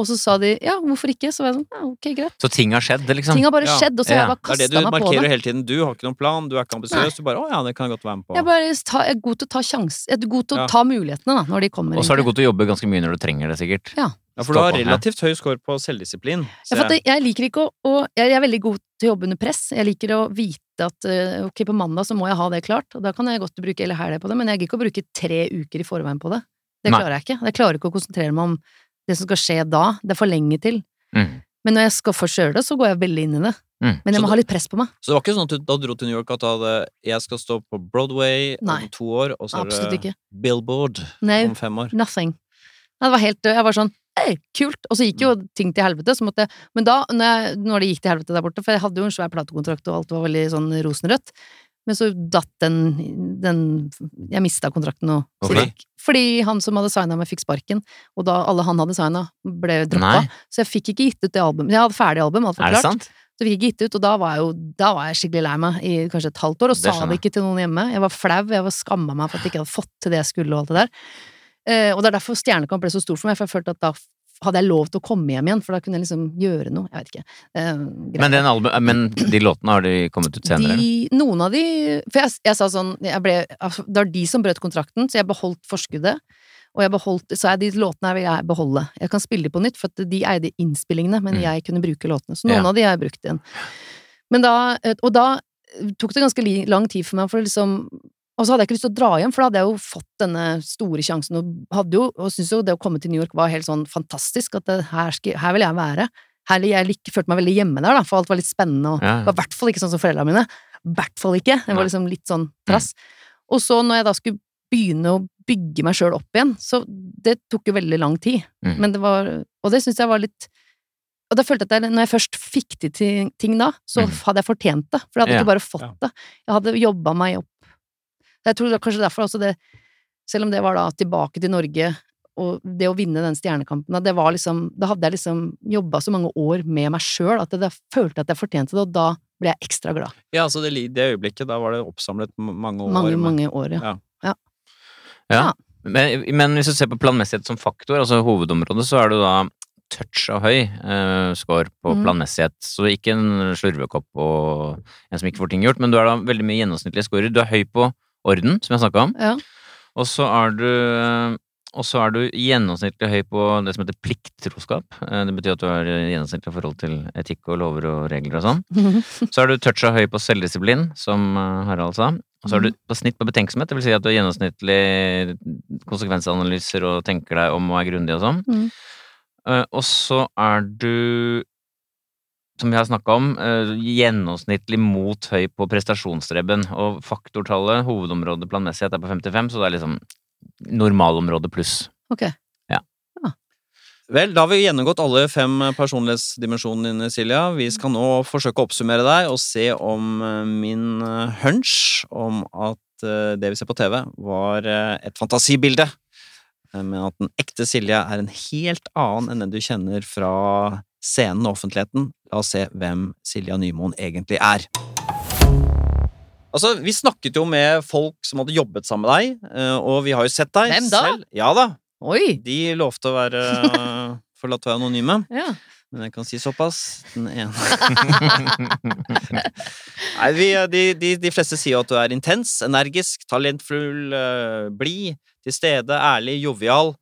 S4: Og så sa de 'ja, hvorfor ikke?' Så var jeg sånn ja, 'ok, greit'.
S3: Så ting har skjedd, liksom?
S4: Ting har bare
S2: Ja.
S4: skjedd, og så har jeg
S3: Ja.
S4: bare
S2: Det er det
S4: kasta
S2: du
S4: meg på det.
S2: markerer hele tiden. Du har ikke noen plan, du er ikke ambisiøs. Du bare 'Å ja, det kan jeg godt være med på'.
S4: Jeg, bare, ta, jeg er god til å ta sjans, jeg er god til å
S2: Ja.
S4: ta mulighetene da, når de kommer.
S3: Og så er du
S4: egentlig.
S3: god til å jobbe ganske mye når du trenger det, sikkert.
S4: Ja.
S2: ja, for du har
S3: Stå på, ja.
S2: relativt høy score på selvdisiplin.
S4: Jeg,
S2: ser jeg.
S4: fatter- jeg liker ikke å, å jeg, jeg er veldig god til å jobbe under press. Jeg liker å vite at eh, ok, på mandag så må jeg ha det klart, og da kan jeg godt bruke hele helga på det, men jeg gidder ikke å bruke tre uker i forveien på det. Det
S3: Nei.
S4: klarer jeg ikke. Jeg klarer ikke å konsentrere meg om det som skal skje da. Det er for lenge til.
S3: Mm.
S4: Men når jeg skal først gjøre det, så går jeg veldig inn i det.
S3: Mm.
S4: Men
S2: Så
S4: jeg må
S2: da-
S4: ha litt press på meg.
S2: Så det var ikke sånn at du da dro til New York at du hadde 'jeg skal stå på Broadway
S4: Nei.
S2: om to år', og så
S4: Absolutt
S2: er det
S4: ikke.
S2: Billboard
S4: Nei.
S2: om fem år?
S4: Nothing. Nei, det var helt Jeg var sånn Hei, kult! Og så gikk
S3: Mm.
S4: jo ting til helvete. Så måtte jeg, men da, når, jeg, når det gikk til helvete der borte, for jeg hadde jo en svær platekontrakt, og alt var veldig sånn rosenrødt, men så datt den, den Jeg mista kontrakten og så
S3: Hvorfor
S4: gikk- Fordi han som hadde signa meg, fikk sparken, og da alle han hadde signa, ble droppa.
S3: Nei.
S4: Så jeg fikk ikke gitt ut det albumet. Jeg hadde ferdig album, alt var
S3: Er det
S4: klart.
S3: sant?
S4: Så fikk jeg ikke gitt ut, og da var jeg jo da var jeg skikkelig lei meg i kanskje et halvt år, og
S3: Det
S4: sa
S3: skjønner
S4: det
S3: jeg.
S4: ikke til noen hjemme. Jeg var flau, jeg var skamma meg for at jeg ikke hadde fått til det jeg skulle, og alt det der. Eh, og det er derfor Stjernekamp ble så stor for meg, for jeg følte at da f- hadde jeg lov til å komme hjem igjen, for da kunne jeg liksom gjøre noe. Jeg vet ikke. Eh, greit.
S3: Men, den album, men de låtene har de kommet ut senere? eller?
S4: De, noen av de For jeg, jeg sa sånn jeg ble, altså, Det var de som brøt kontrakten, så jeg beholdt forskuddet. Og jeg beholdt, så jeg, de låtene her vil jeg beholde. Jeg kan spille de på nytt, for at de eide innspillingene, men
S3: Mm.
S4: jeg kunne bruke låtene. Så noen
S3: Ja.
S4: av de har jeg brukt igjen. Men da, eh, og da tok det ganske li- lang tid for meg, for liksom og så hadde jeg ikke lyst til å dra hjem, for da hadde jeg jo fått denne store sjansen, og hadde jo, og syntes jo det å komme til New York var helt sånn fantastisk, at det, her, skal, her vil jeg være. Her, jeg lik, følte meg veldig hjemme der, da, for alt var litt spennende, og
S3: Ja.
S4: det var i hvert fall ikke sånn som foreldrene mine. I hvert fall ikke. Jeg
S3: Nei. Mm.
S4: var liksom litt sånn trass. Og så når jeg da skulle begynne å bygge meg sjøl opp igjen, så det tok jo veldig lang tid.
S3: Mm.
S4: Men det var, og det syns jeg var litt og da følte jeg at jeg, når jeg først fikk til ting, ting da, så
S3: Mm.
S4: hadde jeg fortjent det. For jeg hadde
S3: Ja.
S4: ikke bare fått
S2: Ja.
S4: det. Jeg hadde jobba meg opp. Jeg tror det er kanskje derfor også det Selv om det var da tilbake til Norge, og det å vinne den Stjernekampen, da, det var liksom Da hadde jeg liksom jobba så mange år med meg sjøl at jeg da følte at jeg fortjente det, og da ble jeg ekstra glad.
S2: Ja, så det, li- det øyeblikket, da var det oppsamlet m- mange år.
S4: Mange,
S2: med-
S4: mange år, ja. Ja.
S3: Men, men hvis du ser på planmessighet som faktor, altså hovedområdet, så er du da touch av høy eh, score på
S2: Mhm.
S4: Mm.
S3: planmessighet. Så ikke en slurvekopp og en som ikke får ting gjort, men du er da veldig mye gjennomsnittlige scorer. Du er høy på orden, som jeg snakka om,
S4: ja.
S3: og så er du eh, og så er du gjennomsnittlig høy på det som heter plikttroskap. Eh, Det betyr at du har eh, gjennomsnittlig forhold til etikk og lover og regler og sånn. Så er du toucha høy på selvdisiplin, som eh, Harald sa. Og så er du på snitt på betenksomhet, det vil si at du har gjennomsnittlig konsekvensanalyser og tenker deg om og er grundig og sånn.
S4: Mm.
S3: Eh, Og så er du, som vi har snakka om, eh, gjennomsnittlig mot høy på prestasjonsstreben. Og faktortallet, hovedområdet planmessighet, er på 55, så det er liksom normalområde pluss.
S4: ok.
S2: Vel, da har vi gjennomgått alle fem personlighetsdimensjonene dine, Silja. Vi skal nå forsøke å oppsummere deg og se om eh, min eh, hunch om at eh, det vi ser på TV, var eh, et fantasibilde, eh, men at den ekte Silja er en helt annen enn den du kjenner fra scenen og offentligheten. La oss se hvem Silja Nymoen egentlig er. Altså, Vi snakket jo med folk som hadde jobbet sammen med deg, eh, og vi har jo sett deg
S4: Hvem da?
S2: selv. Ja da,
S4: Oi!
S2: de lovte å være forlatt å være anonyme,
S4: Ja.
S2: men jeg kan si såpass. Den ene Nei, vi, de, de, de fleste sier jo at du er intens, energisk, talentfull, eh, blid, til stede, ærlig, jovial.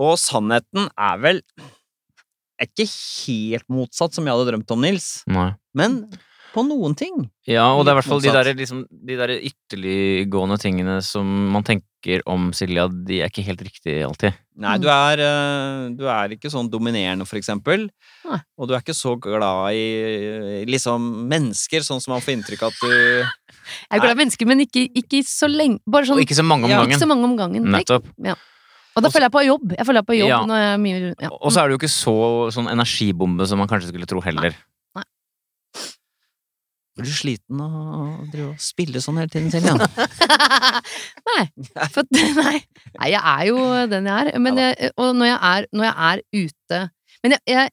S2: Og sannheten er vel er ikke helt motsatt som jeg hadde drømt om, Nils,
S3: Nei.
S2: men på noen ting.
S3: Ja, og det
S2: Litt
S3: er i hvert fall de
S2: motsatt.
S3: der, liksom, de der ytterliggående tingene som man tenker om Silja, de er ikke helt riktige alltid.
S2: Nei,
S4: Mm.
S2: du er, eh, du er ikke sånn dominerende, for eksempel.
S4: Nei.
S2: Og du er ikke så glad i eh, liksom mennesker, sånn som man får inntrykk av at du
S4: Jeg er glad i mennesker, men ikke, ikke så lenge. Bare sånn
S3: Og ikke så mange om
S2: Ja,
S4: ikke så
S3: gangen.
S4: mange om gangen.
S3: Nettopp.
S4: Og da føler jeg på jobb. Jeg føler jeg på jobb
S3: Ja.
S4: når jeg er mye ja.
S3: Og så er det jo ikke så sånn energibombe som man kanskje skulle tro heller.
S2: Blir du sliten av å
S4: Mm.
S2: drive og spille sånn hele tiden, Silja?
S4: nei. For, nei. Nei, jeg er jo den jeg er. Men jeg, og når jeg er, når jeg er ute Men jeg, jeg,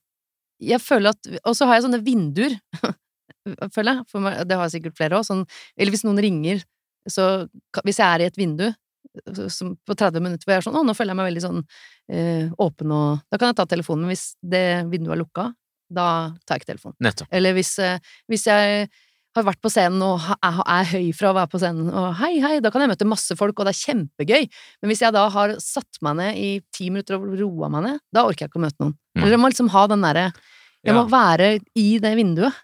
S4: jeg føler at Og så har jeg sånne vinduer, føler jeg. For meg, det har jeg sikkert flere òg. Sånn, eller hvis noen ringer, så ka- Hvis jeg er i et vindu så- som på 30 minutter hvor jeg er sånn Å, nå føler jeg meg veldig sånn eh, åpen og Da kan jeg ta telefonen. Men hvis det vinduet er lukka, da tar jeg ikke telefonen.
S3: Nettopp.
S4: Eller hvis, eh, hvis jeg har vært på scenen og ha- er, er høy fra å være på scenen, og hei, hei, da kan jeg møte masse folk, og det er kjempegøy. Men hvis jeg da har satt meg ned i ti minutter og roa meg ned, da orker jeg ikke å møte noen.
S2: Mm.
S3: Nei.
S4: Eller jeg må liksom ha den derre Jeg må være i det vinduet.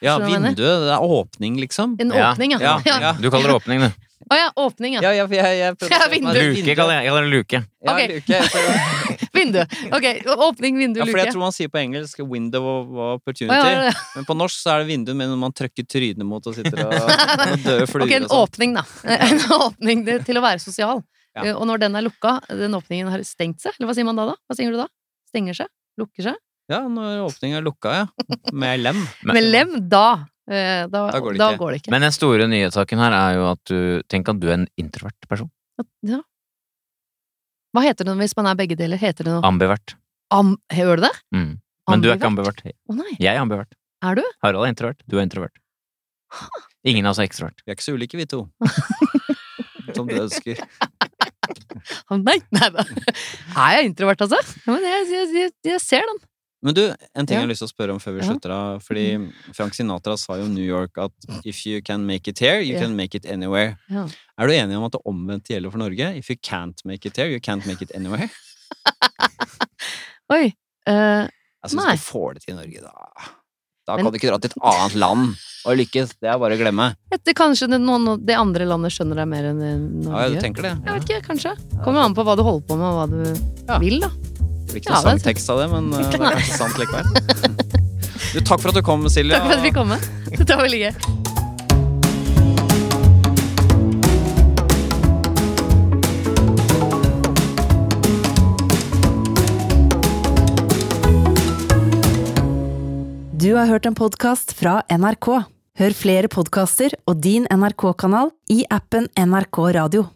S2: Ja,
S4: Skjønner du hva jeg mener?
S2: vinduet. Det er åpning, liksom.
S4: En
S3: Ja.
S4: åpning, ja.
S2: Ja, ja.
S3: Du kaller det åpning, du.
S4: Å ja, åpning, ja.
S2: Ja, jeg, jeg, jeg prøvde
S4: Ja,
S2: å se for meg
S4: vindu.
S3: Luke kaller jeg, jeg kaller det luke.
S2: Ja,
S4: Ok.
S2: luke. Jeg prøver-
S4: Vindu. Ok, åpning, vindu,
S2: Ja, for jeg
S4: luke.
S2: tror man sier på engelsk 'window of
S4: Å, ja,
S2: opportunity',
S4: ja, ja.
S2: men på norsk så er det vindu, men man trykker trynet mot og sitter og, og døde fluer
S4: Ok, en
S2: og sånn.
S4: åpning, da. En åpning til å være sosial.
S2: Ja.
S4: Eh, Og når den er lukka, den åpningen har stengt seg, eller hva sier man da da? Hva sier du da? Stenger seg? Lukker seg?
S2: Ja, når åpningen er lukka, ja. Med lem.
S3: Men-
S4: Med lem, da, eh, da,
S2: Da går det
S4: da
S2: ikke.
S4: går det ikke.
S3: Men den store nyhetssaken her er jo at du Tenk at du er en introvert person.
S4: ja. Hva heter det hvis man er begge deler? Heter det noe
S3: Ambivert.
S4: am... Gjør det det?
S3: Mm. Men du er ikke
S4: Ambivert?
S3: ambivert.
S4: Å nei.
S3: Jeg er ambivert.
S4: Er du?
S3: Harald er introvert. Du er introvert. Ingen av oss er ekstrovert.
S2: Vi er ikke så ulike, vi to. Som du ønsker.
S4: Å nei. nei da. Er jeg introvert, altså? Ja, men jeg, jeg, jeg, jeg ser den.
S2: Men du, en ting
S4: Ja.
S2: jeg har lyst til å spørre om før vi
S4: Ja. Mm.
S2: slutter av. Fordi Frank Sinatra sa jo i New York at 'if you can make it here, you
S4: Ja.
S2: can make it anywhere'.
S4: Ja.
S2: Er du enig om at det omvendte gjelder for Norge? 'If you can't make it here, you can't make it anywhere'?
S4: Oi. eh,
S2: Jeg syns
S4: Nei.
S2: Altså, du får det til i Norge, da. Da
S4: Men-
S2: kan du ikke dra til et annet land og lykkes. Det er bare å glemme.
S4: etter kanskje det, noen, det andre landet skjønner deg mer enn
S2: Ja,
S4: Norge.
S2: du tenker det.
S4: jeg vet ikke, kanskje. Kommer an på hva du holder på med, og hva du
S2: Ja.
S4: vil, da.
S2: Det blir ikke
S4: Ja,
S2: noe
S4: det er
S2: sangtekst av det, men eh, det er kanskje sant likevel. Du, takk for at du kom, Silje.
S4: Takk for at vi kom med. Dette var veldig gøy.
S1: Du har hørt en podkast fra NRK. Hør flere podkaster og din NRK-kanal i appen NRK Radio.